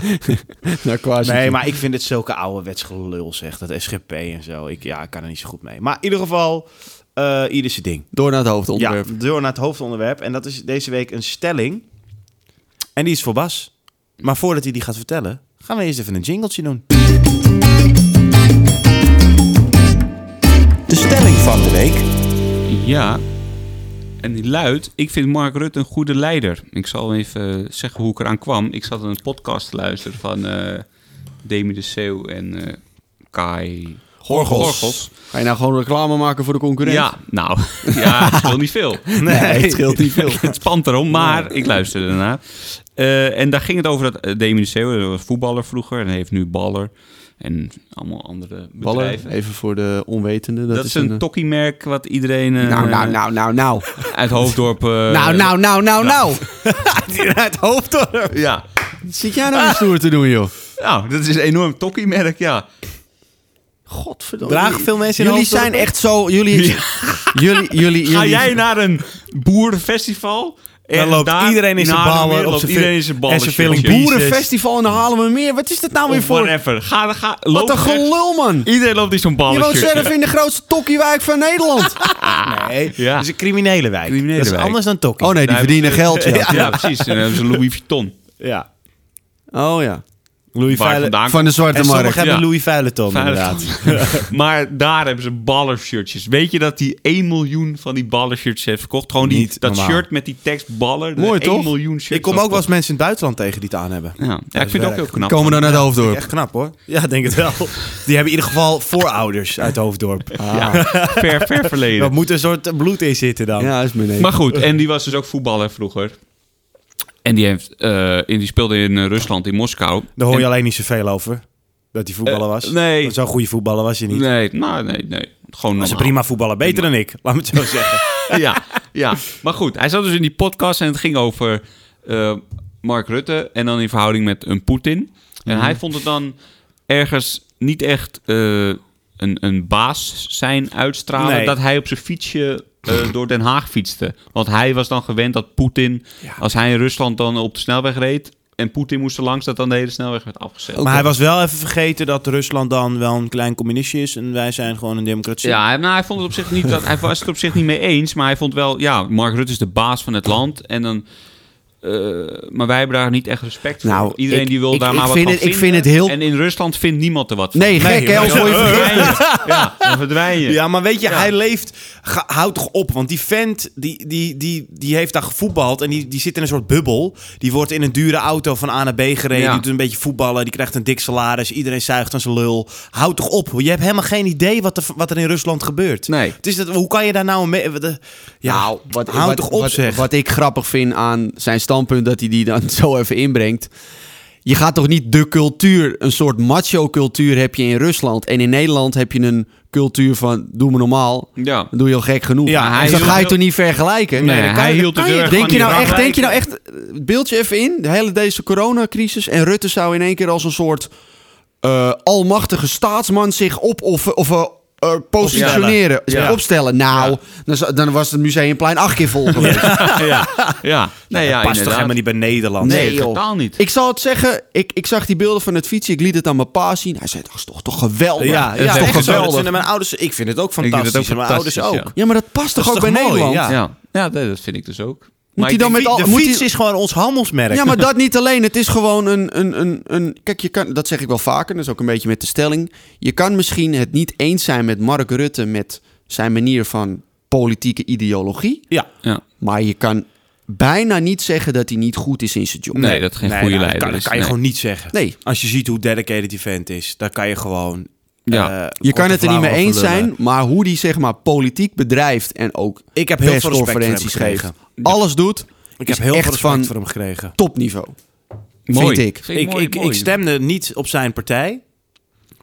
[SPEAKER 3] Nou, quasi.
[SPEAKER 2] Nee, maar ik vind het zulke ouderwets gelul, zeg. Dat SGP en zo. Ik, ja, ik kan er niet zo goed mee. Maar in ieder geval, eh ieder zijn ding.
[SPEAKER 3] Door naar het hoofdonderwerp.
[SPEAKER 2] Ja, door naar het hoofdonderwerp. En dat is deze week een stelling. En die is voor Bas. Maar voordat hij die gaat vertellen, gaan we eerst even een jingletje doen. De stelling van de week.
[SPEAKER 4] Ja. En die luidt, ik vind Mark Rutte een goede leider. Ik zal even eh, zeggen hoe ik eraan kwam. Ik zat een podcast te luisteren van eh Demi de Seeuw en eh, Kai...
[SPEAKER 3] Gorgels.
[SPEAKER 4] Gorgels.
[SPEAKER 3] Ga je nou gewoon reclame maken voor de concurrent?
[SPEAKER 4] Ja, nou, ja, het scheelt niet veel.
[SPEAKER 3] Nee, het scheelt niet veel.
[SPEAKER 4] het spant erom, maar ik luisterde daarna. Eh, en daar ging het over dat eh, Demi de Seeuw, dat was voetballer vroeger en hij heeft nu Baller en allemaal andere
[SPEAKER 3] Baller,
[SPEAKER 4] bedrijven.
[SPEAKER 3] even voor de onwetende. Dat,
[SPEAKER 4] Dat, is een
[SPEAKER 3] eh,
[SPEAKER 4] tokkiemerk wat iedereen eh,
[SPEAKER 3] Nou, nou, nou, nou, nou.
[SPEAKER 4] uit Hoofddorp... eh,
[SPEAKER 3] nou, nou, nou, nou, nou.
[SPEAKER 2] Het hoofdonderwerp.
[SPEAKER 4] Ja,
[SPEAKER 3] Wat Zit jij nou weer stoer te doen, joh?
[SPEAKER 4] nou, dat is een enorm tokkiemerk, ja.
[SPEAKER 3] Godverdomme.
[SPEAKER 2] Dragen veel mensen in
[SPEAKER 3] Jullie
[SPEAKER 2] hoofddoek?
[SPEAKER 3] zijn echt zo... Jullie... Jullie, jullie,
[SPEAKER 4] Ga
[SPEAKER 3] jullie-
[SPEAKER 4] jij naar een boerenfestival?
[SPEAKER 2] Dan loopt iedereen in zijn ballen op
[SPEAKER 4] Loopt
[SPEAKER 2] zijn
[SPEAKER 4] iedereen
[SPEAKER 2] vi-
[SPEAKER 4] in zijn ballen.
[SPEAKER 2] en zijn film
[SPEAKER 4] shit.
[SPEAKER 2] Boeren-
[SPEAKER 3] Boerenfestival en dan halen we meer. Wat is dit nou weer
[SPEAKER 4] Of
[SPEAKER 3] voor?
[SPEAKER 4] whatever. Ga, ga,
[SPEAKER 3] Wat
[SPEAKER 4] loop
[SPEAKER 3] een
[SPEAKER 4] weg.
[SPEAKER 3] gelul, man.
[SPEAKER 4] Iedereen loopt in zo'n ballen.
[SPEAKER 3] Je woont
[SPEAKER 4] shirtje.
[SPEAKER 3] zelf in de grootste tokkiewijk van Nederland.
[SPEAKER 2] Nee,
[SPEAKER 4] Ja.
[SPEAKER 2] dat is een criminele wijk.
[SPEAKER 4] Criminele
[SPEAKER 2] dat is
[SPEAKER 4] wijk.
[SPEAKER 2] anders dan Tokkie.
[SPEAKER 3] Oh nee, die verdienen geld, ja.
[SPEAKER 4] Ja, precies. En dan hebben ze Louis Vuitton.
[SPEAKER 2] Ja.
[SPEAKER 3] Oh ja.
[SPEAKER 2] Louis
[SPEAKER 4] Waar
[SPEAKER 2] Vuile.
[SPEAKER 4] vandaan
[SPEAKER 3] Van de zwarte
[SPEAKER 2] En sommigen
[SPEAKER 3] markt.
[SPEAKER 2] hebben
[SPEAKER 4] Ja.
[SPEAKER 2] Louis Vuileton,
[SPEAKER 4] Vuile-
[SPEAKER 2] inderdaad.
[SPEAKER 4] maar daar hebben ze ballershirtjes. Weet je dat die 1 miljoen van die ballershirtjes heeft verkocht? Gewoon die,
[SPEAKER 2] Niet
[SPEAKER 4] dat
[SPEAKER 2] normaal.
[SPEAKER 4] shirt met die tekst baller.
[SPEAKER 3] Mooi,
[SPEAKER 4] 1
[SPEAKER 3] toch?
[SPEAKER 4] miljoen shirts.
[SPEAKER 2] Ik kom ook wel eens mensen in het buitenland tegen die het aan hebben.
[SPEAKER 4] Ja, ja ik vind het ook heel knap.
[SPEAKER 3] Komen we dan naar het hoofddorp.
[SPEAKER 2] Echt knap hoor. Ja, denk het wel. Die hebben in ieder geval voorouders uit Hoofddorp.
[SPEAKER 4] Ja, ver, ver verleden.
[SPEAKER 2] Dat moet een soort bloed in zitten dan.
[SPEAKER 3] Ja, is beneden.
[SPEAKER 4] Maar goed, en die was dus ook voetballer vroeger. En die, heeft, eh, in, die speelde in eh, Rusland, in Moskou.
[SPEAKER 2] Daar hoor je
[SPEAKER 4] En-
[SPEAKER 2] alleen niet zoveel over. Dat hij voetballer
[SPEAKER 4] Eh,
[SPEAKER 2] was.
[SPEAKER 4] nee.
[SPEAKER 2] Want Zo'n goede voetballer was je niet.
[SPEAKER 4] Nee, nou, nee, nee. Gewoon
[SPEAKER 2] Was een
[SPEAKER 4] normaal.
[SPEAKER 2] prima voetballer. Beter dan ik. Laat me het zo zeggen.
[SPEAKER 4] Ja, ja, maar goed. Hij zat dus in die podcast en het ging over eh, Mark Rutte. En dan in verhouding met een Poetin. En hij vond het dan ergens niet echt eh, een, een baas zijn uitstralen.
[SPEAKER 2] Nee.
[SPEAKER 4] Dat hij op zijn fietsje... eh, door Den Haag fietste. Want hij was dan gewend dat Poetin, als hij in Rusland dan op de snelweg reed, en Poetin moest er langs, dat dan de hele snelweg werd afgezet.
[SPEAKER 3] Ook-
[SPEAKER 2] Maar hij was wel even vergeten dat Rusland dan wel een klein communistje is en wij zijn gewoon een democratie.
[SPEAKER 4] Ja, hij- nou, hij vond het op zich niet dat hij was het op zich niet mee eens, maar hij vond wel, ja, Mark Rutte is de baas van het land en dan. eh, maar wij hebben daar niet echt respect voor.
[SPEAKER 3] Nou,
[SPEAKER 4] Iedereen
[SPEAKER 3] ik-
[SPEAKER 4] die wil
[SPEAKER 3] ik-
[SPEAKER 4] daar
[SPEAKER 3] ik
[SPEAKER 4] maar wat
[SPEAKER 3] vind
[SPEAKER 4] van
[SPEAKER 3] het- ik
[SPEAKER 4] vinden.
[SPEAKER 3] vind het heel-
[SPEAKER 4] En in Rusland vindt niemand er wat van.
[SPEAKER 3] Nee, gek
[SPEAKER 2] Nee,
[SPEAKER 3] hè,
[SPEAKER 2] maar
[SPEAKER 3] als
[SPEAKER 2] ja,
[SPEAKER 3] voor je
[SPEAKER 4] Dan
[SPEAKER 2] eh,
[SPEAKER 3] vergeet.
[SPEAKER 4] verdwijn je. Ja, dan verdwijn je.
[SPEAKER 2] Ja, maar weet je,
[SPEAKER 4] Ja.
[SPEAKER 2] hij leeft. Ga, houd toch op, want die vent die, die, die, die heeft daar gevoetbald en die, die zit in een soort bubbel. Die wordt in een dure auto van A naar B gereden.
[SPEAKER 4] Ja.
[SPEAKER 2] Die doet een beetje voetballen, die krijgt een dik salaris. Iedereen zuigt aan zijn lul. Houd toch op, je hebt helemaal geen idee wat er, wat er in Rusland gebeurt.
[SPEAKER 3] Nee.
[SPEAKER 2] Het is dat, hoe kan je daar nou mee. wat, eh, Ja,
[SPEAKER 3] nou, wat,
[SPEAKER 2] houd
[SPEAKER 3] wat-
[SPEAKER 2] toch op,
[SPEAKER 3] wat,
[SPEAKER 2] zeg.
[SPEAKER 3] Wat ik grappig vind aan zijn standpunt, dat hij die dan zo even inbrengt. Je gaat toch niet de cultuur, een soort macho-cultuur heb je in Rusland. En in Nederland heb je een cultuur van doe me normaal.
[SPEAKER 4] Ja.
[SPEAKER 3] Dan doe je al gek genoeg.
[SPEAKER 2] Ja,
[SPEAKER 3] Ja,
[SPEAKER 4] hij
[SPEAKER 3] hij dat
[SPEAKER 4] hield-
[SPEAKER 3] ga je toch niet vergelijken?
[SPEAKER 4] Nee,
[SPEAKER 3] dat kan
[SPEAKER 4] hij
[SPEAKER 3] je-
[SPEAKER 4] hield
[SPEAKER 3] dat
[SPEAKER 4] het
[SPEAKER 3] kan
[SPEAKER 4] heel
[SPEAKER 3] je.
[SPEAKER 4] erg
[SPEAKER 3] denk
[SPEAKER 4] van
[SPEAKER 3] je, nou
[SPEAKER 4] die
[SPEAKER 3] echt, denk je nou
[SPEAKER 4] vergelijking.
[SPEAKER 3] echt, beeld je even in, de hele deze coronacrisis. En Rutte zou in één keer als een soort eh, almachtige staatsman zich opofferen. Of, eh, eh, positioneren,
[SPEAKER 4] Opstellen. Ja.
[SPEAKER 3] opstellen. Nou, dan, zou- dan was het museumplein acht keer vol geweest.
[SPEAKER 4] ja. ja. Nee, ja,
[SPEAKER 2] past toch helemaal
[SPEAKER 4] inderdaad.
[SPEAKER 2] niet bij Nederland?
[SPEAKER 4] Nee, totaal niet.
[SPEAKER 3] Ik zal het zeggen, ik, ik zag die beelden van het fietsen. Ik liet het aan mijn pa zien. Hij zei, dat is toch, toch geweldig.
[SPEAKER 2] Ja,
[SPEAKER 4] is
[SPEAKER 2] ja,
[SPEAKER 4] toch
[SPEAKER 2] echt zo.
[SPEAKER 4] geweldig.
[SPEAKER 2] Dat vinden mijn ouders, ik vind het ook
[SPEAKER 4] vind het ook
[SPEAKER 2] fantastisch. en mijn
[SPEAKER 4] fantastisch,
[SPEAKER 2] ouders ook.
[SPEAKER 4] ja.
[SPEAKER 3] Ja, maar dat past toch
[SPEAKER 2] Dat
[SPEAKER 3] ook
[SPEAKER 2] is
[SPEAKER 3] bij
[SPEAKER 2] toch mooi,
[SPEAKER 3] Nederland?
[SPEAKER 2] ja.
[SPEAKER 4] Ja, ja nee, dat vind ik dus ook.
[SPEAKER 3] Moet
[SPEAKER 4] Maar
[SPEAKER 3] hij dan
[SPEAKER 4] ik denk-
[SPEAKER 3] met al,
[SPEAKER 2] de
[SPEAKER 3] moet
[SPEAKER 2] fiets
[SPEAKER 3] hij-
[SPEAKER 2] is gewoon ons handelsmerk.
[SPEAKER 3] Ja, maar dat niet alleen. Het is gewoon een, een, een, een... Kijk, je kan, dat zeg ik wel vaker. Dat is ook een beetje met de stelling. Je kan misschien het niet eens zijn met Mark Rutte... met zijn manier van politieke ideologie.
[SPEAKER 2] Ja.
[SPEAKER 4] ja.
[SPEAKER 3] Maar je kan bijna niet zeggen dat hij niet goed is in zijn job.
[SPEAKER 4] Nee, dat geen
[SPEAKER 2] Nee,
[SPEAKER 4] goede
[SPEAKER 2] nou, dat
[SPEAKER 4] leider
[SPEAKER 2] kan,
[SPEAKER 4] is.
[SPEAKER 2] dat kan je
[SPEAKER 4] Nee.
[SPEAKER 2] gewoon niet zeggen.
[SPEAKER 3] Nee.
[SPEAKER 2] Als je ziet hoe dedicated die vent is, dan kan je gewoon...
[SPEAKER 4] Ja.
[SPEAKER 2] eh,
[SPEAKER 3] Je kan
[SPEAKER 2] korte
[SPEAKER 3] het er niet mee
[SPEAKER 2] verhalen
[SPEAKER 3] eens
[SPEAKER 2] over lullen.
[SPEAKER 3] zijn, maar hoe die zeg maar politiek bedrijft en ook
[SPEAKER 2] Ik heb heel veel respect voor hem
[SPEAKER 3] persconferenties geeft,
[SPEAKER 2] gekregen.
[SPEAKER 3] alles doet,
[SPEAKER 2] Ik
[SPEAKER 3] is
[SPEAKER 2] heb heel
[SPEAKER 3] echt
[SPEAKER 2] veel respect
[SPEAKER 3] van
[SPEAKER 2] voor hem gekregen.
[SPEAKER 3] topniveau.
[SPEAKER 4] Mooi.
[SPEAKER 3] Eh, Vind ik.
[SPEAKER 2] Ik,
[SPEAKER 4] mooi,
[SPEAKER 2] ik,
[SPEAKER 4] mooi.
[SPEAKER 2] ik stemde niet op zijn partij.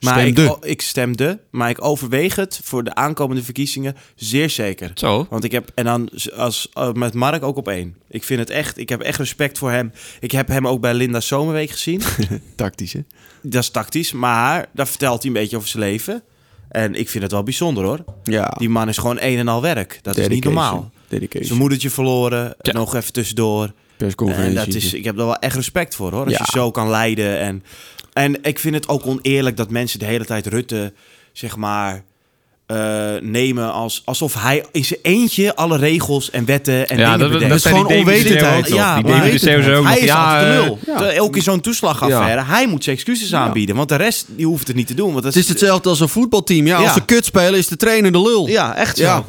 [SPEAKER 2] Maar ik,
[SPEAKER 3] Stemde.
[SPEAKER 2] o- ik stemde, maar ik overweeg het voor de aankomende verkiezingen zeer zeker.
[SPEAKER 4] Zo.
[SPEAKER 2] Want ik heb, en dan z- als, eh, met Mark ook op één. Ik vind het echt, ik heb echt respect voor hem. Ik heb hem ook bij Linda Zomerweek gezien.
[SPEAKER 3] Tactisch hè?
[SPEAKER 2] Dat is tactisch, maar daar vertelt hij een beetje over zijn leven. En ik vind het wel bijzonder hoor.
[SPEAKER 3] Ja.
[SPEAKER 2] Die man is gewoon een en al werk. Dat is niet normaal. Zijn
[SPEAKER 3] Dedication.
[SPEAKER 2] moedertje verloren,
[SPEAKER 4] Ja.
[SPEAKER 2] nog even tussendoor. En
[SPEAKER 3] Persconferentie.
[SPEAKER 2] dat is, ik heb er wel echt respect voor hoor. Als
[SPEAKER 3] Ja.
[SPEAKER 2] je zo kan leiden. En, en ik vind het ook oneerlijk dat mensen de hele tijd Rutte, zeg maar, eh, nemen als, alsof hij in zijn eentje alle regels en wetten en
[SPEAKER 4] Ja,
[SPEAKER 2] dingen
[SPEAKER 4] dat, dat,
[SPEAKER 2] bedenkt.
[SPEAKER 4] dat
[SPEAKER 3] is
[SPEAKER 4] zijn
[SPEAKER 3] gewoon
[SPEAKER 4] die David
[SPEAKER 3] onwetendheid,
[SPEAKER 4] Seeuwen ook nog.
[SPEAKER 2] ja,
[SPEAKER 4] die
[SPEAKER 2] maar
[SPEAKER 4] David
[SPEAKER 3] weten
[SPEAKER 4] Seeuwen
[SPEAKER 2] hij
[SPEAKER 4] ook nog.
[SPEAKER 2] is
[SPEAKER 4] Ja,
[SPEAKER 2] altijd de
[SPEAKER 4] eh,
[SPEAKER 2] lul.
[SPEAKER 3] ja.
[SPEAKER 2] Terwijl Elke in zo'n toeslagaffaire, hij moet zijn excuses aanbieden. Want de rest, die hoeft het niet te doen. Want dat
[SPEAKER 3] Het is hetzelfde als een voetbalteam. Ja,
[SPEAKER 2] Ja.
[SPEAKER 3] als ze kut spelen is de trainer de lul.
[SPEAKER 2] Ja, echt zo.
[SPEAKER 3] Ja.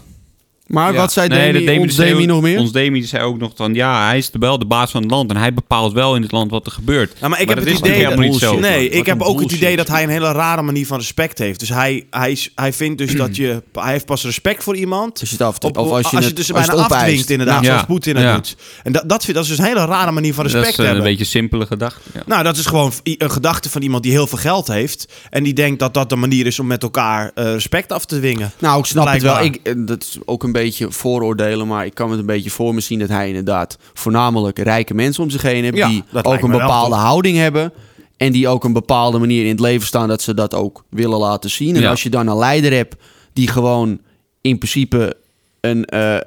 [SPEAKER 3] Maar
[SPEAKER 4] Ja.
[SPEAKER 3] wat zei
[SPEAKER 4] Nee,
[SPEAKER 3] Demi,
[SPEAKER 4] dat Demi
[SPEAKER 3] ons
[SPEAKER 4] zei
[SPEAKER 3] Demi
[SPEAKER 4] ook-
[SPEAKER 3] nog meer?
[SPEAKER 4] Ons Demi zei ook nog van... Ja, hij is de- wel de baas van het land. En hij bepaalt wel in het land wat er gebeurt.
[SPEAKER 2] Nou, maar ik heb
[SPEAKER 4] dat
[SPEAKER 2] het
[SPEAKER 4] is natuurlijk
[SPEAKER 2] idee dat,
[SPEAKER 4] helemaal niet zo.
[SPEAKER 2] nee,
[SPEAKER 4] Wat
[SPEAKER 2] ik heb
[SPEAKER 4] een
[SPEAKER 2] ook het
[SPEAKER 4] bullshit.
[SPEAKER 2] idee dat hij een hele rare manier van respect heeft. Dus hij, hij, is- hij vindt dus dat je, hij heeft pas respect voor iemand.
[SPEAKER 3] Als je het af-
[SPEAKER 2] op-
[SPEAKER 3] of als je het-
[SPEAKER 2] dus
[SPEAKER 3] als je
[SPEAKER 2] bijna
[SPEAKER 3] het opeist. Nou,
[SPEAKER 2] afdwingt inderdaad,
[SPEAKER 4] Ja.
[SPEAKER 2] zoals Poetin dat
[SPEAKER 4] Ja.
[SPEAKER 2] doet. En dat, dat, vind- dat is dus een hele rare manier van
[SPEAKER 4] Dat
[SPEAKER 2] respect
[SPEAKER 4] is eh, een
[SPEAKER 2] hebben.
[SPEAKER 4] beetje simpele gedachte. Ja.
[SPEAKER 2] Nou, dat is gewoon i- een gedachte van iemand die heel veel geld heeft. En die denkt dat dat de manier is om met elkaar eh, respect af te dwingen.
[SPEAKER 3] Nou, ik snap het wel.
[SPEAKER 2] Blijkbaar.
[SPEAKER 3] Ik, eh, dat is ook een beetje vooroordelen, maar ik kan het een beetje voor me zien dat hij inderdaad voornamelijk rijke mensen om zich heen heeft.
[SPEAKER 2] Ja,
[SPEAKER 3] die
[SPEAKER 2] dat
[SPEAKER 3] ook
[SPEAKER 2] lijkt
[SPEAKER 3] een
[SPEAKER 2] me wel,
[SPEAKER 3] bepaalde
[SPEAKER 2] toch?
[SPEAKER 3] houding hebben. En die ook een bepaalde manier in het leven staan dat ze dat ook willen laten zien. En
[SPEAKER 4] Ja.
[SPEAKER 3] als je dan een leider hebt die gewoon in principe een. eh,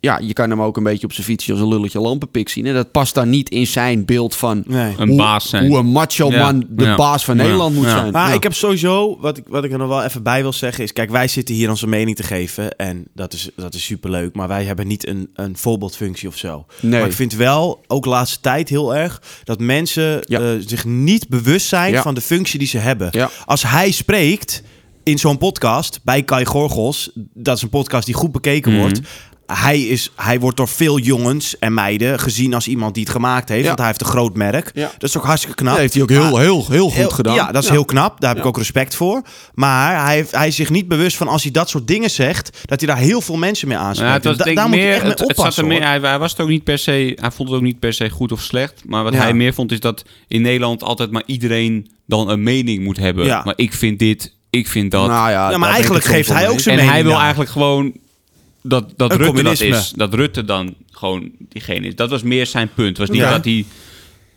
[SPEAKER 3] ja, je kan hem ook een beetje op zijn fietsje als een lulletje lampenpik zien. En dat past dan niet in zijn beeld van
[SPEAKER 2] Nee.
[SPEAKER 4] Een
[SPEAKER 3] hoe,
[SPEAKER 4] baas zijn.
[SPEAKER 3] hoe een macho
[SPEAKER 4] Ja.
[SPEAKER 3] man de
[SPEAKER 4] Ja.
[SPEAKER 3] baas van
[SPEAKER 4] Ja.
[SPEAKER 3] Nederland moet
[SPEAKER 4] Ja.
[SPEAKER 3] zijn.
[SPEAKER 2] Maar
[SPEAKER 3] Ja.
[SPEAKER 2] ik heb sowieso, wat ik, wat ik er nog wel even bij wil zeggen, is: kijk, wij zitten hier onze mening te geven. En dat is, dat is superleuk. Maar wij hebben niet een, een voorbeeldfunctie of zo.
[SPEAKER 3] Nee.
[SPEAKER 2] Maar ik vind wel, ook de laatste tijd heel erg, dat mensen
[SPEAKER 3] Ja.
[SPEAKER 2] eh, zich niet bewust zijn
[SPEAKER 3] Ja.
[SPEAKER 2] van de functie die ze hebben.
[SPEAKER 3] Ja.
[SPEAKER 2] Als hij spreekt in zo'n podcast bij Kai Gorgels, dat is een podcast die goed bekeken
[SPEAKER 4] Mhm.
[SPEAKER 2] wordt. Hij, is, hij wordt door veel jongens en meiden gezien als iemand die het gemaakt heeft.
[SPEAKER 3] Ja.
[SPEAKER 2] Want hij heeft een groot merk.
[SPEAKER 3] Ja.
[SPEAKER 2] Dat is ook hartstikke knap.
[SPEAKER 3] Dat heeft hij ook heel,
[SPEAKER 2] Maar-
[SPEAKER 3] heel, heel goed
[SPEAKER 2] Heel-
[SPEAKER 3] gedaan.
[SPEAKER 2] Ja, dat is heel knap. Daar heb ik ook respect voor. Maar hij, heeft- hij is zich niet bewust van als hij dat soort dingen zegt, dat hij daar heel veel mensen mee aanspreekt.
[SPEAKER 4] Ja, het was
[SPEAKER 2] En da-
[SPEAKER 4] denk ik
[SPEAKER 2] daar moet je
[SPEAKER 4] meer,
[SPEAKER 2] echt mee
[SPEAKER 4] het, het zat
[SPEAKER 2] oppassen.
[SPEAKER 4] er meer,
[SPEAKER 2] hoor.
[SPEAKER 4] hij, hij was het ook niet per se, hij vond het ook niet per se goed of slecht. Maar wat
[SPEAKER 2] Ja.
[SPEAKER 4] hij meer vond is dat in Nederland altijd maar iedereen dan een mening moet hebben.
[SPEAKER 2] Ja.
[SPEAKER 4] Maar ik vind dit, ik vind dat.
[SPEAKER 3] Nou ja,
[SPEAKER 2] ja, maar
[SPEAKER 3] daar ben
[SPEAKER 2] eigenlijk
[SPEAKER 3] ik het
[SPEAKER 2] geeft
[SPEAKER 3] soms
[SPEAKER 2] hij
[SPEAKER 3] wel
[SPEAKER 2] ook
[SPEAKER 3] mee
[SPEAKER 2] zijn
[SPEAKER 4] en
[SPEAKER 2] mening.
[SPEAKER 4] hij wil
[SPEAKER 2] daar.
[SPEAKER 4] eigenlijk gewoon dat, dat
[SPEAKER 2] Een
[SPEAKER 4] Rutte dat
[SPEAKER 2] communisme.
[SPEAKER 4] is. Dat Rutte dan gewoon diegene is. Dat was meer zijn punt. Het was niet
[SPEAKER 2] Ja.
[SPEAKER 4] dat, hij,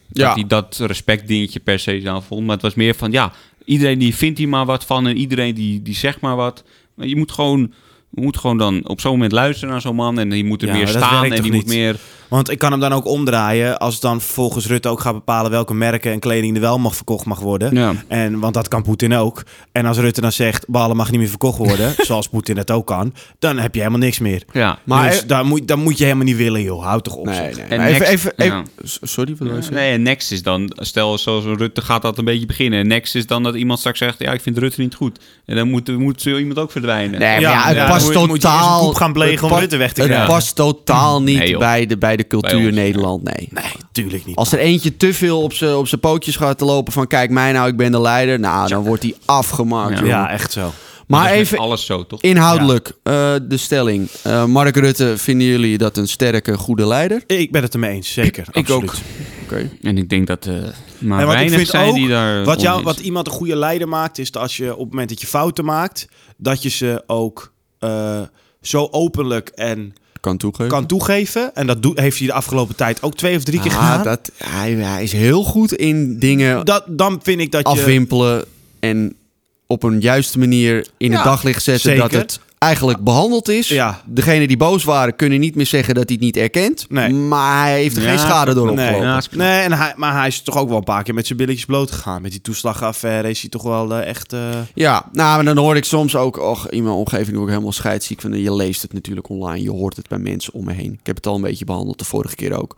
[SPEAKER 3] Ja.
[SPEAKER 4] dat hij dat respectdingetje per se aan vond. Maar het was meer van, ja, iedereen die vindt hier maar wat van. En iedereen die, die zegt maar wat. Maar je moet gewoon... Je moet gewoon dan op zo'n moment luisteren naar zo'n man. En die moet er
[SPEAKER 2] Ja,
[SPEAKER 4] meer
[SPEAKER 2] maar dat
[SPEAKER 4] staan.
[SPEAKER 2] werkt
[SPEAKER 4] En
[SPEAKER 2] toch
[SPEAKER 4] die moet
[SPEAKER 2] niet?
[SPEAKER 4] meer
[SPEAKER 2] Want ik kan hem dan ook omdraaien als dan volgens Rutte ook gaat bepalen welke merken en kleding er wel mag verkocht mag worden.
[SPEAKER 4] Ja.
[SPEAKER 2] En, want dat kan Poetin ook. En als Rutte dan zegt, ballen mag niet meer verkocht worden, zoals Poetin dat ook kan, dan heb je helemaal niks meer.
[SPEAKER 4] Ja.
[SPEAKER 2] Maar
[SPEAKER 3] Maar-
[SPEAKER 2] dus daar moet, daar moet je helemaal niet willen, joh. Houd toch op.
[SPEAKER 3] Nee,
[SPEAKER 2] zeg.
[SPEAKER 3] nee.
[SPEAKER 4] En
[SPEAKER 3] maar even,
[SPEAKER 4] next-
[SPEAKER 3] even, even-
[SPEAKER 4] ja.
[SPEAKER 3] S- Sorry, wat wil je
[SPEAKER 4] Ja,
[SPEAKER 3] zeggen?
[SPEAKER 4] Nee, en next is dan, stel zoals Rutte gaat dat een beetje beginnen. Next is dan dat iemand straks zegt, ja, ik vind Rutte niet goed. En dan moet, moet zo iemand ook verdwijnen.
[SPEAKER 3] Nee, maar
[SPEAKER 2] Ja,
[SPEAKER 3] ja, het
[SPEAKER 2] ja,
[SPEAKER 3] past
[SPEAKER 2] moet je-
[SPEAKER 3] totaal...
[SPEAKER 2] moet je eerst een koep gaan plegen
[SPEAKER 3] het
[SPEAKER 2] om
[SPEAKER 3] past-
[SPEAKER 2] Rutte weg te
[SPEAKER 3] Het
[SPEAKER 2] krijgen.
[SPEAKER 3] past totaal niet
[SPEAKER 4] Nee, joh.
[SPEAKER 3] bij, de, bij de cultuur
[SPEAKER 4] Bij ons,
[SPEAKER 3] Nederland, nee.
[SPEAKER 2] Nee, tuurlijk niet.
[SPEAKER 3] Als er eentje te veel op zijn op zijn pootjes gaat te lopen van... kijk mij nou, ik ben de leider. Nou, dan wordt hij afgemaakt.
[SPEAKER 4] Ja.
[SPEAKER 3] joh.
[SPEAKER 2] ja, echt zo.
[SPEAKER 4] Dat
[SPEAKER 3] Maar
[SPEAKER 4] is met
[SPEAKER 3] even
[SPEAKER 4] alles zo, toch?
[SPEAKER 3] inhoudelijk eh, de stelling. Eh, Mark Rutte, vinden jullie dat een sterke, goede leider?
[SPEAKER 2] Ik ben het ermee eens, zeker. absoluut.
[SPEAKER 4] ook.
[SPEAKER 3] Oké.
[SPEAKER 4] En ik denk dat eh maar
[SPEAKER 2] En wat ik
[SPEAKER 4] weinig
[SPEAKER 2] vind
[SPEAKER 4] zijn
[SPEAKER 2] ook,
[SPEAKER 4] die daar
[SPEAKER 2] wat, jou,
[SPEAKER 4] oneens-
[SPEAKER 2] wat iemand een goede leider maakt, is dat als je op het moment dat je fouten maakt, dat je ze ook eh, zo openlijk en
[SPEAKER 3] Kan toegeven.
[SPEAKER 2] kan toegeven. En dat doe- heeft hij de afgelopen tijd ook twee of drie keer
[SPEAKER 3] Ah,
[SPEAKER 2] gedaan.
[SPEAKER 3] dat, hij, hij is heel goed in dingen
[SPEAKER 2] Dat, dan vind ik dat je...
[SPEAKER 3] afwimpelen en op een juiste manier in
[SPEAKER 2] Ja,
[SPEAKER 3] het daglicht zetten
[SPEAKER 2] zeker.
[SPEAKER 3] dat het eigenlijk behandeld is.
[SPEAKER 2] Ja.
[SPEAKER 3] Degenen die boos waren kunnen niet meer zeggen dat hij het niet erkent.
[SPEAKER 2] Nee.
[SPEAKER 3] Maar hij heeft er geen
[SPEAKER 4] Ja,
[SPEAKER 3] schade door
[SPEAKER 2] nee,
[SPEAKER 3] opgelopen.
[SPEAKER 4] Ja,
[SPEAKER 2] ja,
[SPEAKER 4] is knap.
[SPEAKER 2] nee en hij, maar hij is toch ook wel een paar keer met zijn billetjes bloot gegaan. Met die toeslagaffaire is hij toch wel eh, echt... eh,
[SPEAKER 3] Ja, nou, maar dan hoor ik soms ook, och, in mijn omgeving word ik helemaal scheidsziek van. Je leest het natuurlijk online, je hoort het bij mensen om me heen. Ik heb het al een beetje behandeld de vorige keer ook.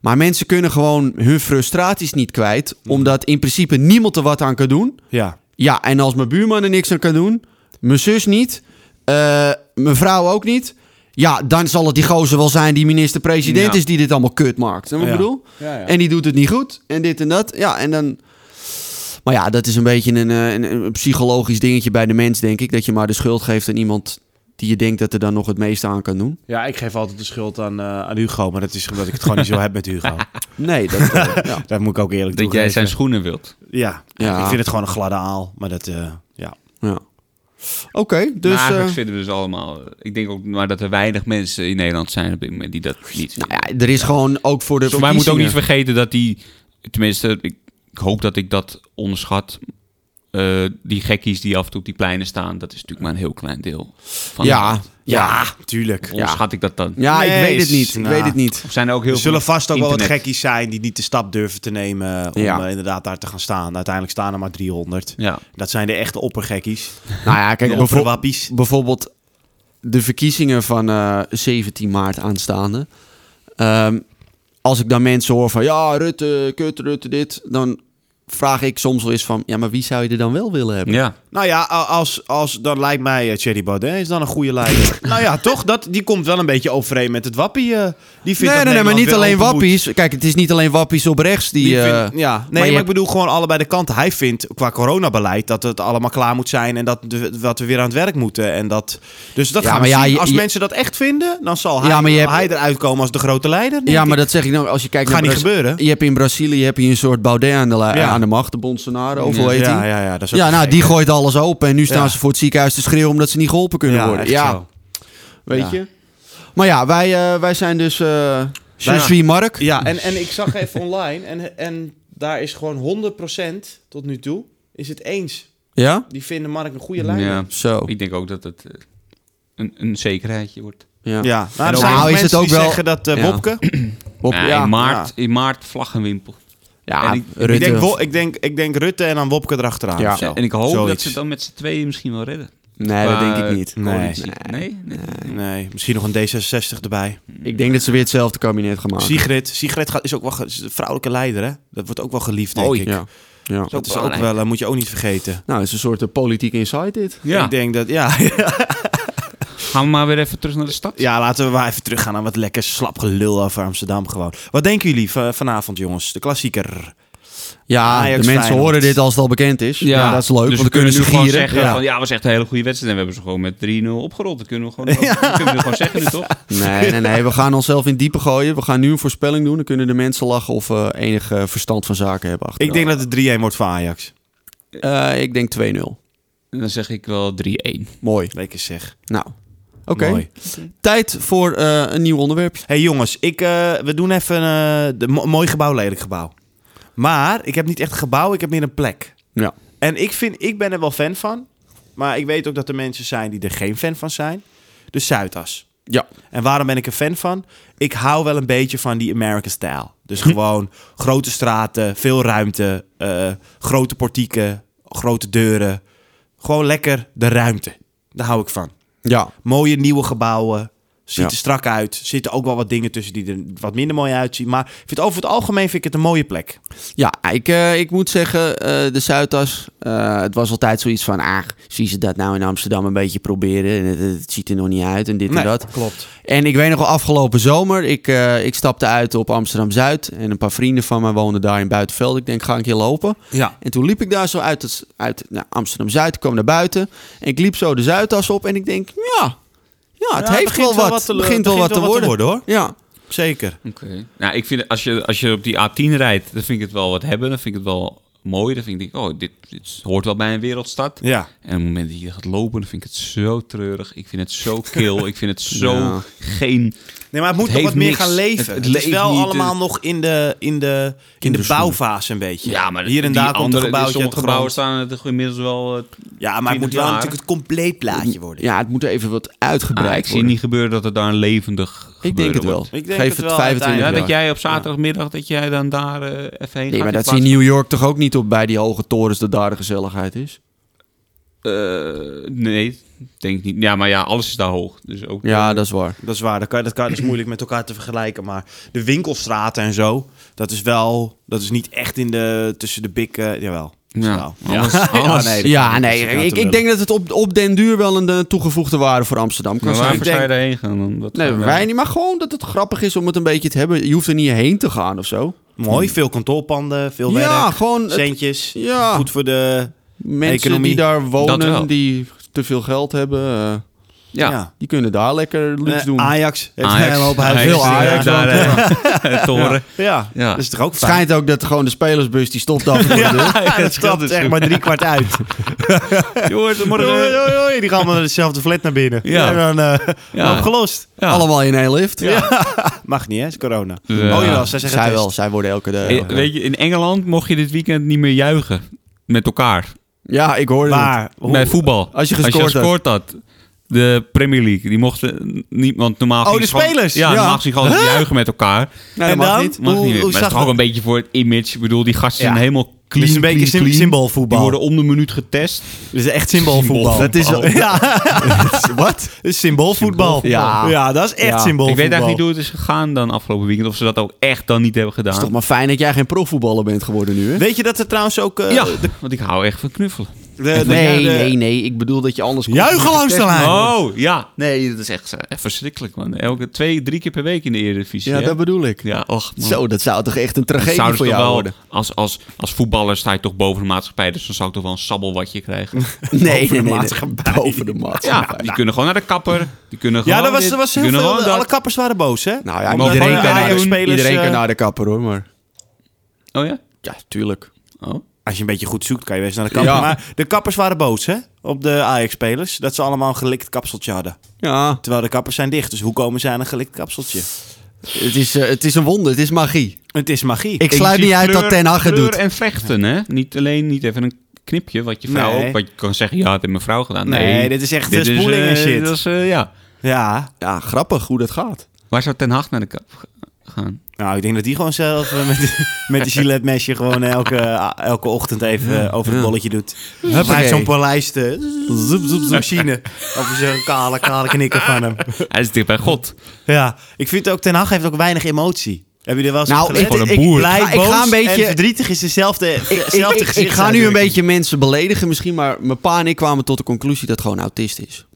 [SPEAKER 3] Maar mensen kunnen gewoon hun frustraties niet kwijt,
[SPEAKER 2] Mm.
[SPEAKER 3] omdat in principe niemand er wat aan kan doen.
[SPEAKER 2] ja.
[SPEAKER 3] Ja, en als mijn buurman er niks aan kan doen, mijn zus niet, eh, mijn vrouw ook niet. Ja, dan zal het die gozer wel zijn die minister-president
[SPEAKER 4] Ja.
[SPEAKER 3] is die dit allemaal kut maakt. Snap je wat ik
[SPEAKER 2] Ja.
[SPEAKER 3] bedoel? En die doet het niet goed. En dit en dat. Ja, en dan... Maar ja, dat is een beetje een, eh, een, een psychologisch dingetje bij de mens, denk ik. Dat je maar de schuld geeft aan iemand die je denkt dat er dan nog het meeste aan kan doen.
[SPEAKER 2] ja, ik geef altijd de schuld aan, eh, aan Hugo. Maar dat is omdat ik het gewoon niet zo heb met Hugo.
[SPEAKER 3] Nee, dat... eh, ja.
[SPEAKER 2] Dat moet ik ook eerlijk
[SPEAKER 4] Dat jij zijn schoenen wilt.
[SPEAKER 2] Ja,
[SPEAKER 3] Ja.
[SPEAKER 2] ik vind het gewoon een gladde aal. Maar dat, eh, ja.
[SPEAKER 3] ja. Oké, dus...
[SPEAKER 4] maar eigenlijk
[SPEAKER 3] eh,
[SPEAKER 4] vinden we dus allemaal... eh, Ik denk ook maar dat er weinig mensen in Nederland zijn op dit moment die dat niet vinden.
[SPEAKER 3] nou ja, er is gewoon ook voor de
[SPEAKER 4] maar je moet ook
[SPEAKER 3] verkiezingen-
[SPEAKER 4] niet vergeten dat die... Tenminste, ik, ik hoop dat ik dat onderschat. eh, die gekkies die af en toe op die pleinen staan... dat is natuurlijk maar een heel klein deel. Van
[SPEAKER 3] Ja, ja.
[SPEAKER 2] tuurlijk.
[SPEAKER 4] Onderschat ik dat dan.
[SPEAKER 3] Ja,
[SPEAKER 2] Nee,
[SPEAKER 3] ik weet het
[SPEAKER 2] is-
[SPEAKER 3] niet. Ik
[SPEAKER 2] nou.
[SPEAKER 3] weet het niet.
[SPEAKER 4] Of zijn er ook heel
[SPEAKER 2] Er
[SPEAKER 4] veel
[SPEAKER 2] zullen vast ook wel wat
[SPEAKER 4] internet-
[SPEAKER 2] gekkies zijn die niet de stap durven te nemen om
[SPEAKER 3] Ja.
[SPEAKER 2] eh, inderdaad daar te gaan staan. Uiteindelijk staan er maar 300.
[SPEAKER 4] Ja.
[SPEAKER 2] Dat zijn de echte oppergekkies.
[SPEAKER 3] Nou ja,
[SPEAKER 2] De
[SPEAKER 3] kijk, bijvoorbeeld...
[SPEAKER 2] opperwappies.
[SPEAKER 3] bijvoorbeeld de verkiezingen van eh, 17 maart aanstaande. Ehm, als ik dan mensen hoor van ja, Rutte, kut, Rutte, dit. Dan vraag ik soms wel eens van ja, maar wie zou je er dan wel willen hebben?
[SPEAKER 4] Ja.
[SPEAKER 2] Nou ja, a- als, als, dan lijkt mij eh, Thierry Baudet is dan een goede leider. nou ja, toch? Dat, die komt wel een beetje overeen met het wappie. eh. die vindt
[SPEAKER 3] Nee,
[SPEAKER 2] dat
[SPEAKER 3] nee, nee, maar
[SPEAKER 2] Nederland
[SPEAKER 3] niet
[SPEAKER 2] weer
[SPEAKER 3] alleen
[SPEAKER 2] open moet.
[SPEAKER 3] wappies. Kijk, het is niet alleen wappies op rechts die...
[SPEAKER 2] Die
[SPEAKER 3] eh,
[SPEAKER 2] vindt- ja, nee, maar,
[SPEAKER 3] je
[SPEAKER 2] ik
[SPEAKER 3] hebt-
[SPEAKER 2] bedoel gewoon allebei de kanten. Hij vindt qua coronabeleid dat het allemaal klaar moet zijn en dat, de, dat we weer aan het werk moeten. En dat, dus dat
[SPEAKER 3] Ja,
[SPEAKER 2] gaan we
[SPEAKER 3] maar ja,
[SPEAKER 2] zien.
[SPEAKER 3] je-
[SPEAKER 2] als
[SPEAKER 3] je-
[SPEAKER 2] mensen dat echt vinden, dan zal hij,
[SPEAKER 3] Ja, maar je hebt-
[SPEAKER 2] hij eruit komen als de grote leider. denk
[SPEAKER 3] ja,
[SPEAKER 2] ik.
[SPEAKER 3] maar dat zeg ik nou, als je kijkt
[SPEAKER 2] Gaat
[SPEAKER 3] naar...
[SPEAKER 2] niet
[SPEAKER 3] Braz-
[SPEAKER 2] gebeuren.
[SPEAKER 3] Je hebt in Brazilië heb je een soort Baudet aan de, li-
[SPEAKER 2] Ja.
[SPEAKER 3] aan de macht, de Bolsonaro, of hoe heet
[SPEAKER 2] ja,
[SPEAKER 3] die?
[SPEAKER 2] ja, ja, dat is ook
[SPEAKER 3] Ja, nou,
[SPEAKER 2] gek.
[SPEAKER 3] die gooit alles open en nu staan
[SPEAKER 2] Ja.
[SPEAKER 3] ze voor het ziekenhuis te schreeuwen omdat ze niet geholpen kunnen
[SPEAKER 2] Ja,
[SPEAKER 3] worden.
[SPEAKER 2] echt
[SPEAKER 3] Ja,
[SPEAKER 2] zo.
[SPEAKER 3] weet
[SPEAKER 2] Ja.
[SPEAKER 3] je. Maar ja, wij, eh, wij zijn dus... eh je
[SPEAKER 2] Wij-
[SPEAKER 3] suis Mark.
[SPEAKER 2] Ja, en, en ik zag even online en, en daar is gewoon 100% tot nu toe is het eens.
[SPEAKER 3] Ja?
[SPEAKER 2] Die vinden Mark een goede leider.
[SPEAKER 4] ja.
[SPEAKER 3] Zo.
[SPEAKER 4] Ik denk ook dat het eh, een, een zekerheidje wordt.
[SPEAKER 3] Ja.
[SPEAKER 2] Ja, nou, er
[SPEAKER 3] ook-
[SPEAKER 2] zijn
[SPEAKER 3] Nou,
[SPEAKER 2] ook
[SPEAKER 3] is
[SPEAKER 2] mensen
[SPEAKER 3] het ook
[SPEAKER 2] die
[SPEAKER 3] wel-
[SPEAKER 2] zeggen dat eh,
[SPEAKER 3] Ja.
[SPEAKER 2] Wopke...
[SPEAKER 3] Bob,
[SPEAKER 4] Ja,
[SPEAKER 3] ja.
[SPEAKER 4] in, maart, in maart vlaggenwimpel.
[SPEAKER 3] Ja,
[SPEAKER 4] en ik-
[SPEAKER 3] Rutte.
[SPEAKER 2] Ik denk, Wo- ik, denk, ik denk Rutte en dan Wopke erachteraan.
[SPEAKER 3] Ja.
[SPEAKER 2] of zo.
[SPEAKER 4] en ik hoop dat
[SPEAKER 2] Zoiets.
[SPEAKER 4] ze het dan met z'n tweeën misschien wel redden.
[SPEAKER 3] nee, dat denk
[SPEAKER 4] Qua
[SPEAKER 3] ik niet.
[SPEAKER 2] Nee.
[SPEAKER 4] coalitie. Nee? nee.
[SPEAKER 2] Nee, misschien nog een D66 erbij.
[SPEAKER 3] Ik denk dat ze weer hetzelfde kabinet gaan maken.
[SPEAKER 2] Sigrid. Sigrid gaat, is ook wel ge- is een vrouwelijke leider, hè? Dat wordt ook wel geliefd, denk
[SPEAKER 4] Oei.
[SPEAKER 2] ik.
[SPEAKER 3] Ja. ja.
[SPEAKER 2] Dat is ook
[SPEAKER 4] belangrijk.
[SPEAKER 2] wel, eh, moet je ook niet vergeten.
[SPEAKER 3] Nou, het is een soort eh, politiek insight dit.
[SPEAKER 4] Ja,
[SPEAKER 2] Ik denk dat, ja,
[SPEAKER 4] gaan we maar weer even terug naar de stad.
[SPEAKER 2] ja, laten we maar even teruggaan naar wat lekker slap gelul over Amsterdam gewoon. Wat denken jullie va- vanavond, jongens? De klassieker.
[SPEAKER 3] Ja,
[SPEAKER 2] Ajax
[SPEAKER 3] de mensen
[SPEAKER 2] Feyenoord.
[SPEAKER 3] horen dit als het al bekend is. Ja, dat is leuk.
[SPEAKER 4] Dus
[SPEAKER 3] want
[SPEAKER 4] we
[SPEAKER 3] dan
[SPEAKER 4] kunnen nu
[SPEAKER 3] ze
[SPEAKER 4] gewoon
[SPEAKER 3] gieren.
[SPEAKER 4] zeggen
[SPEAKER 2] Ja.
[SPEAKER 4] van ja, was echt een hele goede wedstrijd. En we hebben ze gewoon met 3-0 opgerold. Dat kunnen we gewoon, dat kunnen we gewoon zeggen nu toch?
[SPEAKER 3] Nee, nee, nee. We gaan onszelf in het diepe gooien. We gaan nu een voorspelling doen. Dan kunnen de mensen lachen of eh, enig eh, verstand van zaken hebben.
[SPEAKER 2] Ik
[SPEAKER 3] achteraf.
[SPEAKER 2] denk dat het 3-1 wordt voor Ajax.
[SPEAKER 3] Eh, ik denk 2-0.
[SPEAKER 4] En dan zeg ik wel 3-1.
[SPEAKER 3] Mooi.
[SPEAKER 2] Lekker zeg.
[SPEAKER 3] Nou, oké.
[SPEAKER 2] Mooi.
[SPEAKER 3] Tijd voor eh, een nieuw onderwerp.
[SPEAKER 2] hey, jongens, ik, eh, we doen even eh, de mo- mooi gebouw, lelijk gebouw. Maar ik heb niet echt een gebouw, ik heb meer een plek.
[SPEAKER 3] Ja.
[SPEAKER 2] En ik, vind, ik ben er wel fan van. Maar ik weet ook dat er mensen zijn die er geen fan van zijn. De Zuidas.
[SPEAKER 3] Ja.
[SPEAKER 2] En waarom ben ik er fan van? Ik hou wel een beetje van die American style. Dus
[SPEAKER 3] Mhm.
[SPEAKER 2] gewoon grote straten, veel ruimte, eh, grote portieken, grote deuren. Gewoon lekker de ruimte. Daar hou ik van.
[SPEAKER 3] Ja.
[SPEAKER 2] Mooie nieuwe gebouwen. Ziet
[SPEAKER 3] Ja.
[SPEAKER 2] er strak uit. Zitten ook wel wat dingen tussen die er wat minder mooi uitzien. Maar ik vind, over het algemeen vind ik het een mooie plek.
[SPEAKER 3] Ja, ik, eh, ik moet zeggen, eh, de Zuidas, eh, het was altijd zoiets van... Ah, zie ze dat nou in Amsterdam een beetje proberen? En het, het ziet er nog niet uit en dit en dat.
[SPEAKER 2] klopt.
[SPEAKER 3] En ik weet nog wel, afgelopen zomer, ik, eh, ik stapte uit op Amsterdam-Zuid. En een paar vrienden van mij woonden daar in Buitenveld. Ik denk, ga een keer lopen.
[SPEAKER 2] Ja.
[SPEAKER 3] En toen liep ik daar zo uit, het, uit nou, Amsterdam-Zuid, kwam naar buiten. En ik liep zo de Zuidas op en ik denk, ja, ja Nou, het
[SPEAKER 2] Ja,
[SPEAKER 3] heeft
[SPEAKER 2] begint
[SPEAKER 3] wel
[SPEAKER 2] wel
[SPEAKER 3] wat.
[SPEAKER 2] wat te-
[SPEAKER 3] begint wel wat te worden.
[SPEAKER 2] hoor.
[SPEAKER 3] Ja,
[SPEAKER 2] Zeker.
[SPEAKER 4] Oké. Nou, ik vind als je, als je op die A10 rijdt, dan vind ik het wel wat hebben. Dan vind ik het wel mooi. Dan vind ik, oh, dit, dit hoort wel bij een wereldstad.
[SPEAKER 2] Ja.
[SPEAKER 4] En op het moment dat je gaat lopen, dan vind ik het zo treurig. Ik vind het zo kil. ik vind het zo
[SPEAKER 3] Ja.
[SPEAKER 4] geen...
[SPEAKER 2] Nee, maar het moet
[SPEAKER 4] Het
[SPEAKER 2] nog
[SPEAKER 4] heeft
[SPEAKER 2] wat meer
[SPEAKER 4] niks.
[SPEAKER 2] gaan leven. Het,
[SPEAKER 4] Het- het
[SPEAKER 2] is
[SPEAKER 4] leeft
[SPEAKER 2] wel
[SPEAKER 4] niet,
[SPEAKER 2] allemaal
[SPEAKER 4] eh,
[SPEAKER 2] nog in de, in de, in de
[SPEAKER 3] Kinderschoenen.
[SPEAKER 2] bouwfase een beetje.
[SPEAKER 4] Ja, maar
[SPEAKER 2] Hier en
[SPEAKER 4] die
[SPEAKER 2] daar komt een
[SPEAKER 4] andere-
[SPEAKER 2] gebouwtje uit
[SPEAKER 4] Sommige
[SPEAKER 2] de
[SPEAKER 4] gebouwen
[SPEAKER 2] grond.
[SPEAKER 4] staan er toch inmiddels wel... eh,
[SPEAKER 2] Ja, maar het moet wel
[SPEAKER 4] 20
[SPEAKER 2] natuurlijk het compleet plaatje worden.
[SPEAKER 3] ja, het moet even wat
[SPEAKER 4] ah,
[SPEAKER 3] uitgebreid
[SPEAKER 4] ik zie
[SPEAKER 3] worden.
[SPEAKER 4] niet gebeuren dat het daar een levendig
[SPEAKER 3] ik denk het wel.
[SPEAKER 2] Ik denk
[SPEAKER 3] Geef
[SPEAKER 2] het
[SPEAKER 3] het
[SPEAKER 2] wel
[SPEAKER 3] 25
[SPEAKER 4] Ja,
[SPEAKER 2] uiteindelijk.
[SPEAKER 4] dat jij op zaterdagmiddag, dat jij dan daar eh, even
[SPEAKER 3] Nee,
[SPEAKER 4] heen gaat.
[SPEAKER 3] maar dat zie je
[SPEAKER 4] in plaats
[SPEAKER 3] in New York toch ook niet op bij die hoge torens dat daar de gezelligheid is?
[SPEAKER 4] Eh, nee, denk ik niet. Ja, maar ja, alles is daar hoog. Dus ook
[SPEAKER 3] Ja, dat is waar.
[SPEAKER 2] Dat is waar. Dat, kan, dat, kan, dat is moeilijk met elkaar te vergelijken. Maar de winkelstraten en zo, dat is wel... Dat is niet echt in de, tussen de bikken. Jawel.
[SPEAKER 4] Ja.
[SPEAKER 2] Nou,
[SPEAKER 4] Ja.
[SPEAKER 2] alles-
[SPEAKER 4] Ja,
[SPEAKER 2] alles- dat
[SPEAKER 3] Ja,
[SPEAKER 2] kan- dat
[SPEAKER 3] nee,
[SPEAKER 2] is nou
[SPEAKER 3] ik,
[SPEAKER 2] te
[SPEAKER 3] ik denk
[SPEAKER 2] lullen.
[SPEAKER 3] dat het op, op den duur wel een eh, toegevoegde waarde voor Amsterdam kan
[SPEAKER 4] Maar
[SPEAKER 3] zijn.
[SPEAKER 4] waarvoor
[SPEAKER 3] Ik
[SPEAKER 4] zou je
[SPEAKER 3] denk-
[SPEAKER 4] daarheen gaan? dan? Wat
[SPEAKER 3] Nee,
[SPEAKER 4] gaan we-
[SPEAKER 3] wij niet, maar gewoon dat het grappig is om het een beetje te hebben. Je hoeft er niet heen te gaan of zo.
[SPEAKER 2] Mooi, veel kantoorpanden, veel
[SPEAKER 3] ja,
[SPEAKER 2] werk,
[SPEAKER 3] gewoon het-
[SPEAKER 2] centjes.
[SPEAKER 3] ja,
[SPEAKER 2] Goed voor de...
[SPEAKER 3] mensen
[SPEAKER 2] economie.
[SPEAKER 3] die daar
[SPEAKER 4] Dat
[SPEAKER 3] wonen,
[SPEAKER 4] wel.
[SPEAKER 3] die te veel geld hebben, eh,
[SPEAKER 4] Ja. Ah,
[SPEAKER 3] die kunnen daar lekker luxe
[SPEAKER 2] Eh,
[SPEAKER 3] doen.
[SPEAKER 2] Ajax heeft
[SPEAKER 4] Ajax.
[SPEAKER 2] een hele hoop
[SPEAKER 4] Ajax,
[SPEAKER 2] huizen.
[SPEAKER 3] Veel Ajax,
[SPEAKER 4] daar, eh, toren.
[SPEAKER 2] Ja,
[SPEAKER 4] Ja.
[SPEAKER 2] dat Dus is toch ook
[SPEAKER 3] Het
[SPEAKER 2] fijn?
[SPEAKER 3] schijnt ook dat gewoon de spelersbus die stopt daar voor de deur.
[SPEAKER 2] Ja, dat
[SPEAKER 4] scheelt
[SPEAKER 2] stapt
[SPEAKER 4] dus
[SPEAKER 2] echt
[SPEAKER 4] goed.
[SPEAKER 2] maar drie kwart uit.
[SPEAKER 4] Jongens, morgen.
[SPEAKER 2] Oei, oei, oei, die gaan allemaal naar dezelfde flat naar binnen.
[SPEAKER 4] Ja.
[SPEAKER 2] En dan eh,
[SPEAKER 4] Ja.
[SPEAKER 2] opgelost.
[SPEAKER 4] Ja.
[SPEAKER 3] Allemaal in één lift.
[SPEAKER 2] Mag niet, hè? Is corona.
[SPEAKER 4] Ja.
[SPEAKER 2] Oh jawel, zij zeggen
[SPEAKER 3] Zij
[SPEAKER 2] het
[SPEAKER 3] wel,
[SPEAKER 2] is.
[SPEAKER 3] zij worden elke dag.
[SPEAKER 4] Eh, Weet je, in Engeland mocht je dit weekend niet meer juichen. Met elkaar.
[SPEAKER 3] Ja, ik hoorde het.
[SPEAKER 2] Maar, hoe-
[SPEAKER 4] Bij voetbal.
[SPEAKER 3] Als je gescoord had.
[SPEAKER 4] gescoord had. De Premier League, die mochten niet, want normaal
[SPEAKER 2] Oh,
[SPEAKER 4] gingen
[SPEAKER 2] de
[SPEAKER 4] ze gewoon-
[SPEAKER 2] spelers?
[SPEAKER 4] Ja,
[SPEAKER 2] Ja.
[SPEAKER 4] normaal gingen ze gewoon juichen met elkaar.
[SPEAKER 3] Nee,
[SPEAKER 2] en
[SPEAKER 3] dat mag
[SPEAKER 2] dan?
[SPEAKER 3] niet.
[SPEAKER 4] Mag
[SPEAKER 2] Hoe,
[SPEAKER 4] niet meer.
[SPEAKER 2] hoe
[SPEAKER 4] Maar het
[SPEAKER 2] zag
[SPEAKER 4] is toch ook
[SPEAKER 2] dat?
[SPEAKER 4] een beetje voor het image. Ik bedoel, die gasten
[SPEAKER 2] Ja.
[SPEAKER 4] zijn helemaal clean,
[SPEAKER 2] Dus een beetje
[SPEAKER 4] clean,
[SPEAKER 2] sim-
[SPEAKER 4] clean. Die
[SPEAKER 2] symboolvoetbal.
[SPEAKER 4] worden om de minuut getest.
[SPEAKER 2] Dit is echt symboolvoetbal.
[SPEAKER 4] Symboolvoetbal.
[SPEAKER 2] Dat is, ja. Wat? Symboolvoetbal.
[SPEAKER 3] Symboolvoetbal.
[SPEAKER 2] ja, dat is echt
[SPEAKER 3] Ja.
[SPEAKER 2] symboolvoetbal.
[SPEAKER 4] Ik weet eigenlijk niet hoe het is gegaan dan afgelopen weekend. Of ze dat ook echt dan niet hebben
[SPEAKER 3] Het
[SPEAKER 4] gedaan.
[SPEAKER 3] is toch maar fijn dat jij geen profvoetballer bent geworden nu, hè?
[SPEAKER 2] Weet je dat er trouwens ook... eh,
[SPEAKER 4] ja,
[SPEAKER 2] de-
[SPEAKER 4] want ik hou echt van knuffelen.
[SPEAKER 2] de- de-
[SPEAKER 3] nee,
[SPEAKER 2] de-
[SPEAKER 3] nee, nee. Ik bedoel dat je anders...
[SPEAKER 2] Juichen langs de lijn.
[SPEAKER 4] Oh, ja. Nee, dat is echt eh, echt verschrikkelijk, man. Elke twee, drie keer per week in de Eredivisie.
[SPEAKER 3] Ja,
[SPEAKER 4] hè?
[SPEAKER 3] dat bedoel ik.
[SPEAKER 4] Ja, och, man.
[SPEAKER 3] Zo, dat zou toch echt een tragedie
[SPEAKER 4] Zouden ze
[SPEAKER 3] voor
[SPEAKER 4] toch
[SPEAKER 3] jou
[SPEAKER 4] wel-
[SPEAKER 3] worden?
[SPEAKER 4] Als, als, als voetballer sta je toch boven de maatschappij, dus dan zou ik toch wel een sabbelwatje krijgen.
[SPEAKER 3] Nee, nee, nee, nee.
[SPEAKER 2] maatschappij.
[SPEAKER 3] Boven de
[SPEAKER 4] ja,
[SPEAKER 3] maatschappij.
[SPEAKER 4] die kunnen gewoon naar de kapper. Die kunnen gewoon
[SPEAKER 2] Ja, dat was,
[SPEAKER 4] dit,
[SPEAKER 2] dat was
[SPEAKER 4] die
[SPEAKER 2] heel
[SPEAKER 4] kunnen
[SPEAKER 2] veel.
[SPEAKER 4] gewoon
[SPEAKER 2] Alle
[SPEAKER 4] dat.
[SPEAKER 2] kappers waren boos, hè?
[SPEAKER 3] Nou ja,
[SPEAKER 2] Omdat
[SPEAKER 3] iedereen
[SPEAKER 2] gewoon
[SPEAKER 3] kan naar de-
[SPEAKER 2] Ajax-spelers,
[SPEAKER 3] Iedereen kan
[SPEAKER 2] eh,
[SPEAKER 3] naar de kapper, hoor. Maar
[SPEAKER 4] Oh ja?
[SPEAKER 3] ja, tuurlijk.
[SPEAKER 4] Oh.
[SPEAKER 2] Als je een beetje goed zoekt, kan je best naar de kapper.
[SPEAKER 3] Ja.
[SPEAKER 2] Maar de kappers waren boos, hè? Op de Ajax-spelers. Dat ze allemaal een gelikt kapseltje hadden.
[SPEAKER 3] Ja,
[SPEAKER 2] Terwijl de kappers zijn dicht. Dus hoe komen ze aan een gelikt kapseltje?
[SPEAKER 3] het is, eh, het is een wonder. Het is magie.
[SPEAKER 2] Het is magie.
[SPEAKER 3] Ik sluit
[SPEAKER 4] zie
[SPEAKER 3] niet uit dat
[SPEAKER 4] kleur-
[SPEAKER 3] Ten Hag het
[SPEAKER 4] kleur
[SPEAKER 3] doet.
[SPEAKER 4] en vechten, hè? Niet alleen niet even een knipje, wat je vrouw
[SPEAKER 2] Nee.
[SPEAKER 4] ook, wat je kan zeggen, ja, het heeft mijn vrouw gedaan.
[SPEAKER 2] Nee,
[SPEAKER 4] Nee,
[SPEAKER 2] dit is echt
[SPEAKER 4] Dit
[SPEAKER 2] eh,
[SPEAKER 4] is,
[SPEAKER 2] spoeling en
[SPEAKER 4] eh,
[SPEAKER 2] shit.
[SPEAKER 4] Dat is, eh, ja.
[SPEAKER 2] Ja.
[SPEAKER 3] Ja, grappig hoe dat gaat.
[SPEAKER 4] Waar zou Ten Hag naar de kap gaan?
[SPEAKER 2] Nou, ik denk dat die gewoon zelf eh, met, met de Gillette mesje gewoon elke, elke ochtend even eh, over het bolletje doet. Hij heeft zo'n polijst eh, zoep, zoep, zoep, machine over zo'n kale, kale knikker van hem.
[SPEAKER 4] Hij is dicht bij God.
[SPEAKER 2] Ja, ik vind ook Ten Hag heeft ook weinig emotie. Heb je er wel eens
[SPEAKER 3] Nou,
[SPEAKER 2] op gelet?
[SPEAKER 3] ik- Gewoon
[SPEAKER 4] een boer.
[SPEAKER 2] blij,
[SPEAKER 3] Ik ga- ik
[SPEAKER 2] boos
[SPEAKER 3] ga een beetje-
[SPEAKER 2] en verdrietig is dezelfde,
[SPEAKER 3] Ik,
[SPEAKER 2] dezelfde
[SPEAKER 3] ik, ik- ik ga nu een
[SPEAKER 2] gezichtsuitdrukking.
[SPEAKER 3] beetje mensen beledigen misschien, maar mijn pa en ik kwamen tot de conclusie dat het gewoon autist is.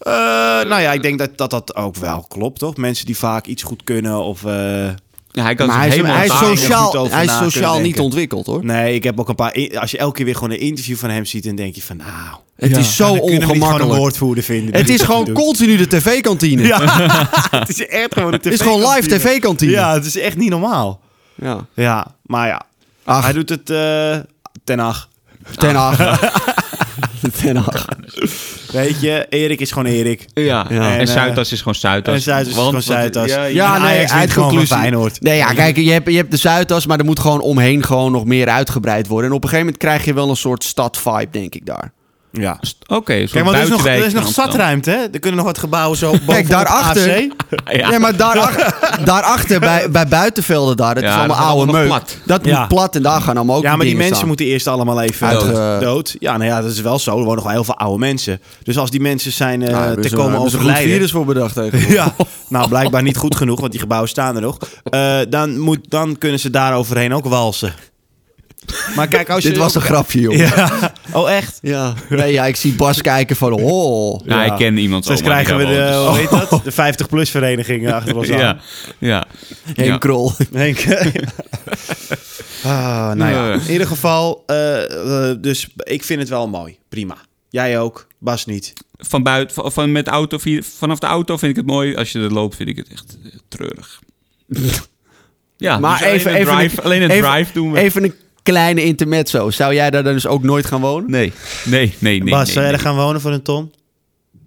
[SPEAKER 2] Eh, nou ja, ik denk dat, dat dat ook wel klopt, toch? Mensen die vaak iets goed kunnen of... eh,
[SPEAKER 4] Ja, hij kan
[SPEAKER 3] maar hij
[SPEAKER 4] zich
[SPEAKER 3] is,
[SPEAKER 4] helemaal
[SPEAKER 3] hij is
[SPEAKER 4] ontdaren.
[SPEAKER 2] daar goed
[SPEAKER 3] sociaal,
[SPEAKER 2] over
[SPEAKER 3] hij is
[SPEAKER 2] na kunnen
[SPEAKER 3] sociaal niet
[SPEAKER 2] denken.
[SPEAKER 3] ontwikkeld, hoor.
[SPEAKER 2] Nee, ik heb ook een paar... in- Als je elke keer weer gewoon een interview van hem ziet, dan denk je van... Nou,
[SPEAKER 3] Het is zo
[SPEAKER 2] dan kunnen we niet gewoon een
[SPEAKER 3] ongemakkelijk.
[SPEAKER 2] woordvoerder vinden. die
[SPEAKER 3] Het is
[SPEAKER 2] dit
[SPEAKER 3] gewoon
[SPEAKER 2] doet.
[SPEAKER 3] continu de tv-kantine.
[SPEAKER 2] het is echt gewoon een
[SPEAKER 3] Het is gewoon live tv-kantine.
[SPEAKER 2] Ja, het is echt niet normaal.
[SPEAKER 3] Ja.
[SPEAKER 2] Ja, maar ja.
[SPEAKER 3] Ach.
[SPEAKER 2] Hij doet het eh ten acht.
[SPEAKER 3] Ten Hag. Ah. Ten Hag.
[SPEAKER 2] Weet je, Erik is gewoon Erik.
[SPEAKER 4] Ja,
[SPEAKER 3] Ja.
[SPEAKER 4] en,
[SPEAKER 2] En, eh,
[SPEAKER 4] Zuidas is gewoon Zuidas.
[SPEAKER 2] en Zuidas is gewoon Zuidas.
[SPEAKER 4] Ja, ja.
[SPEAKER 2] Ja,
[SPEAKER 3] Ja,
[SPEAKER 2] En
[SPEAKER 3] nee,
[SPEAKER 2] Ajax wint gewoon van
[SPEAKER 3] eindconclusie.
[SPEAKER 2] Feyenoord.
[SPEAKER 3] Nee, ja, kijk, je hebt, je hebt de Zuidas, maar er moet gewoon omheen gewoon nog meer uitgebreid worden. En op een gegeven moment krijg je wel een soort stad-vibe, denk ik, daar.
[SPEAKER 2] Ja.
[SPEAKER 4] Oké, okay,
[SPEAKER 2] Kijk, want er is nog, er is nog zatruimte, hè? Er kunnen nog wat gebouwen zo bovenop
[SPEAKER 3] Kijk, daarachter.
[SPEAKER 2] AC.
[SPEAKER 4] Ja.
[SPEAKER 3] Nee, maar daarachter, daarachter bij, bij buitenvelden daar, dat
[SPEAKER 4] Ja,
[SPEAKER 3] is allemaal
[SPEAKER 4] dat gaat
[SPEAKER 3] oude meuk.
[SPEAKER 4] allemaal plat.
[SPEAKER 3] Dat
[SPEAKER 2] Ja.
[SPEAKER 3] moet plat en daar gaan allemaal ook
[SPEAKER 2] Ja, maar die
[SPEAKER 3] dingen
[SPEAKER 2] mensen
[SPEAKER 3] staan.
[SPEAKER 2] moeten eerst allemaal even
[SPEAKER 3] Uit,
[SPEAKER 2] dood.
[SPEAKER 3] eh,
[SPEAKER 2] dood. Ja, nou ja, dat is wel zo. Er wonen nog wel heel veel oude mensen. Dus als die mensen zijn eh,
[SPEAKER 3] Ja, hebben
[SPEAKER 2] te
[SPEAKER 3] ze-
[SPEAKER 2] komen
[SPEAKER 3] hebben ze goed
[SPEAKER 2] overlijden...
[SPEAKER 3] virus voor bedacht tegenwoordig.
[SPEAKER 2] Ja, nou blijkbaar niet goed genoeg, want die gebouwen staan er nog. Eh, dan, moet, dan kunnen ze daar overheen ook walsen. Maar kijk, als je...
[SPEAKER 3] Dit was een grapje, joh. Ja.
[SPEAKER 2] Ja. Oh, echt?
[SPEAKER 3] Nee, ja, ik zie Bas kijken van, oh.
[SPEAKER 4] Ja,
[SPEAKER 2] Ja.
[SPEAKER 4] Nou, ik ken iemand
[SPEAKER 2] Straks
[SPEAKER 4] zo. maar die
[SPEAKER 2] krijgen we
[SPEAKER 4] daar
[SPEAKER 2] de, hoe
[SPEAKER 4] woont,
[SPEAKER 2] heet dat? De 50-plus vereniging achter ons
[SPEAKER 4] dus-
[SPEAKER 2] aan.
[SPEAKER 4] Ja, ja.
[SPEAKER 3] Henk
[SPEAKER 4] Ja.
[SPEAKER 3] Krol.
[SPEAKER 2] Henk. ah, nou ja. In ieder geval, eh, eh, dus ik vind het wel mooi. Prima. Jij ook, Bas niet.
[SPEAKER 4] Van buiten, van, van- met auto, via- vanaf de auto vind ik het mooi. Als je er loopt, vind ik het echt eh, treurig. ja,
[SPEAKER 3] Maar
[SPEAKER 4] dus alleen
[SPEAKER 3] even-
[SPEAKER 4] een
[SPEAKER 3] even
[SPEAKER 4] drive,
[SPEAKER 3] een-
[SPEAKER 4] alleen een
[SPEAKER 3] even-
[SPEAKER 4] drive doen we.
[SPEAKER 3] Even een kleine intermezzo. Zou jij daar dan dus ook nooit gaan wonen?
[SPEAKER 4] nee, nee, nee, nee.
[SPEAKER 2] Bas,
[SPEAKER 4] nee,
[SPEAKER 2] zou jij
[SPEAKER 4] nee.
[SPEAKER 2] er gaan wonen voor een ton?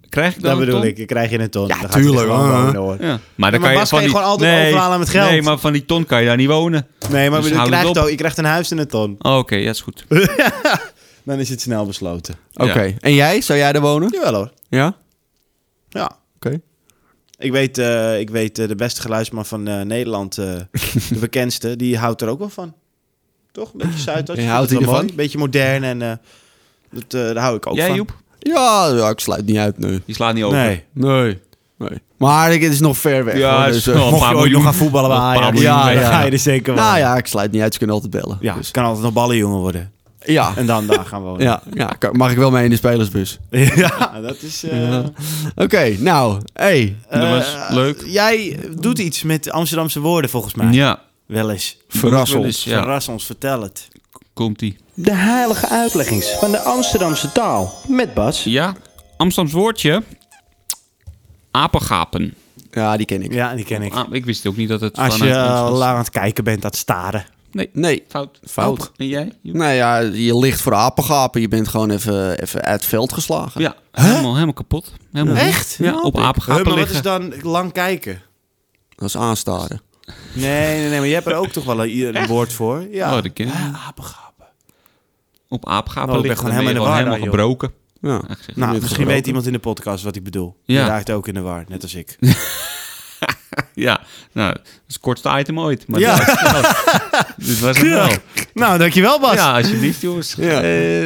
[SPEAKER 4] Krijg ik
[SPEAKER 2] Dat
[SPEAKER 4] dan een
[SPEAKER 2] bedoel
[SPEAKER 4] ton?
[SPEAKER 2] ik. Dan krijg je een ton.
[SPEAKER 3] Ja,
[SPEAKER 2] Dan gaat hij
[SPEAKER 3] tuurlijk,
[SPEAKER 2] er gewoon
[SPEAKER 3] hoor.
[SPEAKER 2] wonen, hoor.
[SPEAKER 4] Ja. Maar, dan
[SPEAKER 2] maar Bas
[SPEAKER 4] kan je van
[SPEAKER 2] kan je
[SPEAKER 4] die-
[SPEAKER 2] gewoon altijd
[SPEAKER 4] nee,
[SPEAKER 2] overhalen met geld.
[SPEAKER 4] Nee, maar van die ton kan je daar niet wonen.
[SPEAKER 2] Nee, maar
[SPEAKER 4] Dus
[SPEAKER 2] je
[SPEAKER 4] hou het
[SPEAKER 2] krijgt,
[SPEAKER 4] op.
[SPEAKER 2] ook- je krijgt een huis en een ton.
[SPEAKER 4] Oh, Oké, ja, is goed.
[SPEAKER 2] Dan is het snel besloten.
[SPEAKER 3] Oké. En jij? Zou jij daar wonen?
[SPEAKER 2] Jawel hoor.
[SPEAKER 3] Ja?
[SPEAKER 2] Ja.
[SPEAKER 3] Oké.
[SPEAKER 2] Ik weet, eh, ik weet eh, de beste geluidsman van eh, Nederland, eh, de bekendste, die houdt er ook wel van. Toch? Een beetje Zuidas.
[SPEAKER 3] Ja, houdt hij ervan?
[SPEAKER 2] Een beetje modern en eh, dat, eh, daar hou ik ook
[SPEAKER 4] Jij,
[SPEAKER 2] van.
[SPEAKER 4] Joep?
[SPEAKER 3] Ja, ja, ik sluit niet uit, nee.
[SPEAKER 4] Die slaat niet over.
[SPEAKER 2] Nee.
[SPEAKER 3] Nee. nee. Maar ik- het is nog ver weg.
[SPEAKER 4] Ja,
[SPEAKER 3] hoor,
[SPEAKER 4] het is
[SPEAKER 3] dus, eh,
[SPEAKER 4] nog een
[SPEAKER 2] Mocht
[SPEAKER 4] paar
[SPEAKER 2] je ooit nog
[SPEAKER 4] miljoen.
[SPEAKER 2] gaan voetballen bij
[SPEAKER 4] Nog een paar
[SPEAKER 2] Ajax,
[SPEAKER 4] miljoen
[SPEAKER 2] ja,
[SPEAKER 3] weg.
[SPEAKER 2] dan ga je er zeker wel.
[SPEAKER 3] nou ja, ik sluit niet uit. Ze kunnen altijd bellen.
[SPEAKER 2] Ja,
[SPEAKER 3] Dus,
[SPEAKER 2] ik kan altijd nog ballenjongen worden.
[SPEAKER 3] ja.
[SPEAKER 2] En dan daar gaan wonen.
[SPEAKER 3] ja, ja kan- mag ik wel mee in de spelersbus?
[SPEAKER 2] Ja, dat is... eh,
[SPEAKER 3] Oké, nou, hey.
[SPEAKER 4] Dat
[SPEAKER 2] eh,
[SPEAKER 4] was leuk.
[SPEAKER 2] Jij doet iets met Amsterdamse woorden, volgens mij.
[SPEAKER 4] Ja,
[SPEAKER 2] Wel eens.
[SPEAKER 3] Verras
[SPEAKER 4] wel
[SPEAKER 3] ons.
[SPEAKER 4] eens, ja.
[SPEAKER 2] Verras ons, vertel het.
[SPEAKER 4] Komt-ie.
[SPEAKER 2] De heilige uitleggings van de Amsterdamse taal. Met Bas.
[SPEAKER 4] Ja, Amsterdams woordje. Apengapen.
[SPEAKER 3] Ja, die ken ik.
[SPEAKER 2] Ja, die ken ik.
[SPEAKER 4] Ah, ik wist ook niet dat het
[SPEAKER 2] Als je
[SPEAKER 4] vanuit ons
[SPEAKER 2] eh,
[SPEAKER 4] was.
[SPEAKER 2] lang aan het kijken bent, dat staren.
[SPEAKER 4] Nee,
[SPEAKER 3] Nee.
[SPEAKER 4] fout.
[SPEAKER 3] Fout.
[SPEAKER 4] En jij? Joep?
[SPEAKER 3] Nou ja, je ligt voor apengapen. Je bent gewoon even, even uit het veld geslagen.
[SPEAKER 4] Ja, helemaal, helemaal kapot. Helemaal
[SPEAKER 2] Echt?
[SPEAKER 4] Ja, op apengapen
[SPEAKER 2] maar wat
[SPEAKER 4] liggen.
[SPEAKER 2] is dan lang kijken?
[SPEAKER 3] Dat is aanstaren.
[SPEAKER 2] Nee, nee, nee, maar je hebt er ook toch wel een, een woord voor. Ja.
[SPEAKER 4] Oh, dat ken ik niet.
[SPEAKER 2] Apengapen.
[SPEAKER 4] Op apengapen
[SPEAKER 2] Oh, ik ben
[SPEAKER 4] liggen.
[SPEAKER 2] gewoon helemaal in
[SPEAKER 4] dan ben je
[SPEAKER 2] de war,
[SPEAKER 4] helemaal
[SPEAKER 2] joh.
[SPEAKER 4] gebroken.
[SPEAKER 3] Ja.
[SPEAKER 4] Ja, gezegd.
[SPEAKER 2] Nou,
[SPEAKER 3] Dit
[SPEAKER 2] misschien
[SPEAKER 3] gebroken.
[SPEAKER 2] weet iemand in de podcast wat ik bedoel.
[SPEAKER 4] Ja.
[SPEAKER 2] Die raakt ook in de war, net als ik.
[SPEAKER 4] Ja, nou, dat is het kortste item ooit. Maar
[SPEAKER 2] Ja.
[SPEAKER 4] ja. Dit was het wel.
[SPEAKER 2] Nou, dankjewel Bas.
[SPEAKER 4] Ja, alsjeblieft, jongens.
[SPEAKER 3] Ja.
[SPEAKER 4] Eh,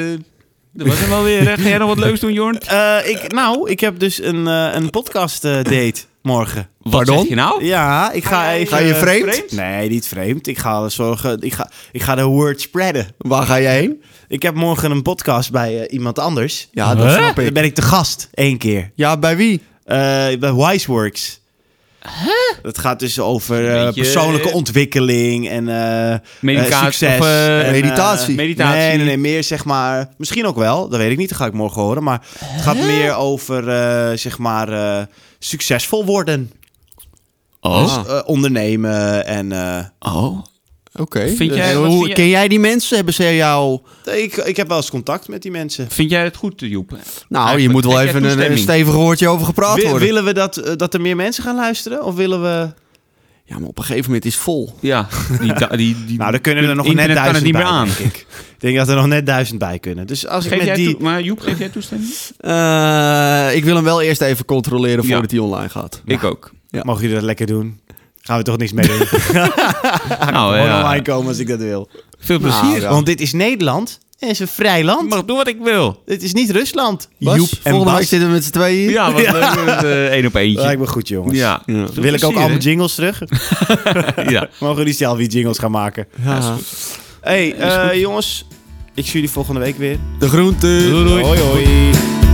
[SPEAKER 4] dat was hem wel weer. hè. Ga jij nog wat leuks doen, Jorn?
[SPEAKER 2] Eh, ik, nou, ik heb dus een, eh, een podcast eh, date morgen.
[SPEAKER 4] Wat
[SPEAKER 3] Pardon?
[SPEAKER 4] zeg je nou?
[SPEAKER 2] Ja, ik ga even...
[SPEAKER 3] Ga je vreemd?
[SPEAKER 2] Nee, niet vreemd. Ik ga zorgen... Ik ga, ik ga de word spreaden.
[SPEAKER 3] Waar ga jij heen?
[SPEAKER 2] Ik heb morgen een podcast bij eh, iemand anders. Eh?
[SPEAKER 3] Ja, dat
[SPEAKER 4] Huh?
[SPEAKER 3] snap
[SPEAKER 2] Dan
[SPEAKER 3] ik.
[SPEAKER 2] ben ik te gast, één keer.
[SPEAKER 3] Ja, bij wie?
[SPEAKER 2] Eh, bij Wiseworks. Huh? Het gaat dus over eh,
[SPEAKER 4] Beetje-
[SPEAKER 2] persoonlijke ontwikkeling en eh, eh,
[SPEAKER 4] Medicatie
[SPEAKER 2] succes.
[SPEAKER 4] of, eh,
[SPEAKER 2] en, eh,
[SPEAKER 3] meditatie.
[SPEAKER 4] Meditatie.
[SPEAKER 2] Nee, nee, nee, meer zeg maar... Misschien ook wel, dat weet ik niet, dat ga ik morgen horen. Maar het gaat meer over, eh, zeg maar, eh, succesvol worden. Dus,
[SPEAKER 4] Oh.
[SPEAKER 2] eh, ondernemen en... eh,
[SPEAKER 4] Oh.
[SPEAKER 3] Oké.
[SPEAKER 4] Vind jij-
[SPEAKER 3] En
[SPEAKER 4] wat
[SPEAKER 3] hoe,
[SPEAKER 4] vind jij-
[SPEAKER 3] Ken jij die mensen? Hebben ze jou...
[SPEAKER 2] ik, ik heb wel eens contact met die mensen.
[SPEAKER 4] Vind jij het goed, Joep?
[SPEAKER 3] Nou, je
[SPEAKER 4] Eigenlijk,
[SPEAKER 3] moet wel
[SPEAKER 4] heb jij
[SPEAKER 3] even een, een
[SPEAKER 4] toestemming?
[SPEAKER 3] stevig woordje over gepraat
[SPEAKER 2] Wi-
[SPEAKER 3] worden.
[SPEAKER 2] willen we dat, eh, dat er meer mensen gaan luisteren? Of willen we...
[SPEAKER 3] Ja, maar op een gegeven moment is het vol.
[SPEAKER 4] Ja. Die, da- die, die,
[SPEAKER 2] Nou, daar kunnen er nog net
[SPEAKER 4] internet
[SPEAKER 2] duizend
[SPEAKER 4] kan het niet meer
[SPEAKER 2] bij,
[SPEAKER 4] aan.
[SPEAKER 2] Denk ik. ik denk dat er nog net duizend bij kunnen. Dus als ik
[SPEAKER 4] Geef jij
[SPEAKER 2] met die...
[SPEAKER 4] toe- maar Joep, geef jij toestemming?
[SPEAKER 3] Eh, ik wil hem wel eerst even controleren
[SPEAKER 4] Ja.
[SPEAKER 3] voordat hij online gaat.
[SPEAKER 4] Ik ook.
[SPEAKER 3] Ja.
[SPEAKER 2] Mogen jullie dat lekker doen? Gaan we toch niks mee doen? Gewoon
[SPEAKER 4] Nou, ja.
[SPEAKER 2] online komen als ik dat wil. Ah,
[SPEAKER 4] Veel
[SPEAKER 3] Nou,
[SPEAKER 4] plezier.
[SPEAKER 3] ja.
[SPEAKER 2] Oh, Want dit is Nederland. Het is een vrij land.
[SPEAKER 4] Ik mag doen wat ik wil.
[SPEAKER 2] Dit is niet Rusland.
[SPEAKER 3] Bas,
[SPEAKER 2] Joep en
[SPEAKER 3] volgende
[SPEAKER 2] Bas.
[SPEAKER 3] week zitten we met z'n tweeën hier.
[SPEAKER 4] Ja, wat leuk met eh, één op eentje.
[SPEAKER 2] Lijkt me goed, jongens.
[SPEAKER 4] Ja.
[SPEAKER 3] Ja.
[SPEAKER 4] Veel
[SPEAKER 2] Wil ik ook
[SPEAKER 4] plezier,
[SPEAKER 2] al
[SPEAKER 4] hè?
[SPEAKER 2] mijn jingles terug?
[SPEAKER 4] Ja.
[SPEAKER 2] Mogen jullie zelf die jingles gaan maken?
[SPEAKER 3] Ja.
[SPEAKER 2] hey, eh, jongens. Ik zie jullie volgende week weer.
[SPEAKER 3] De groente.
[SPEAKER 2] Hoi, hoi.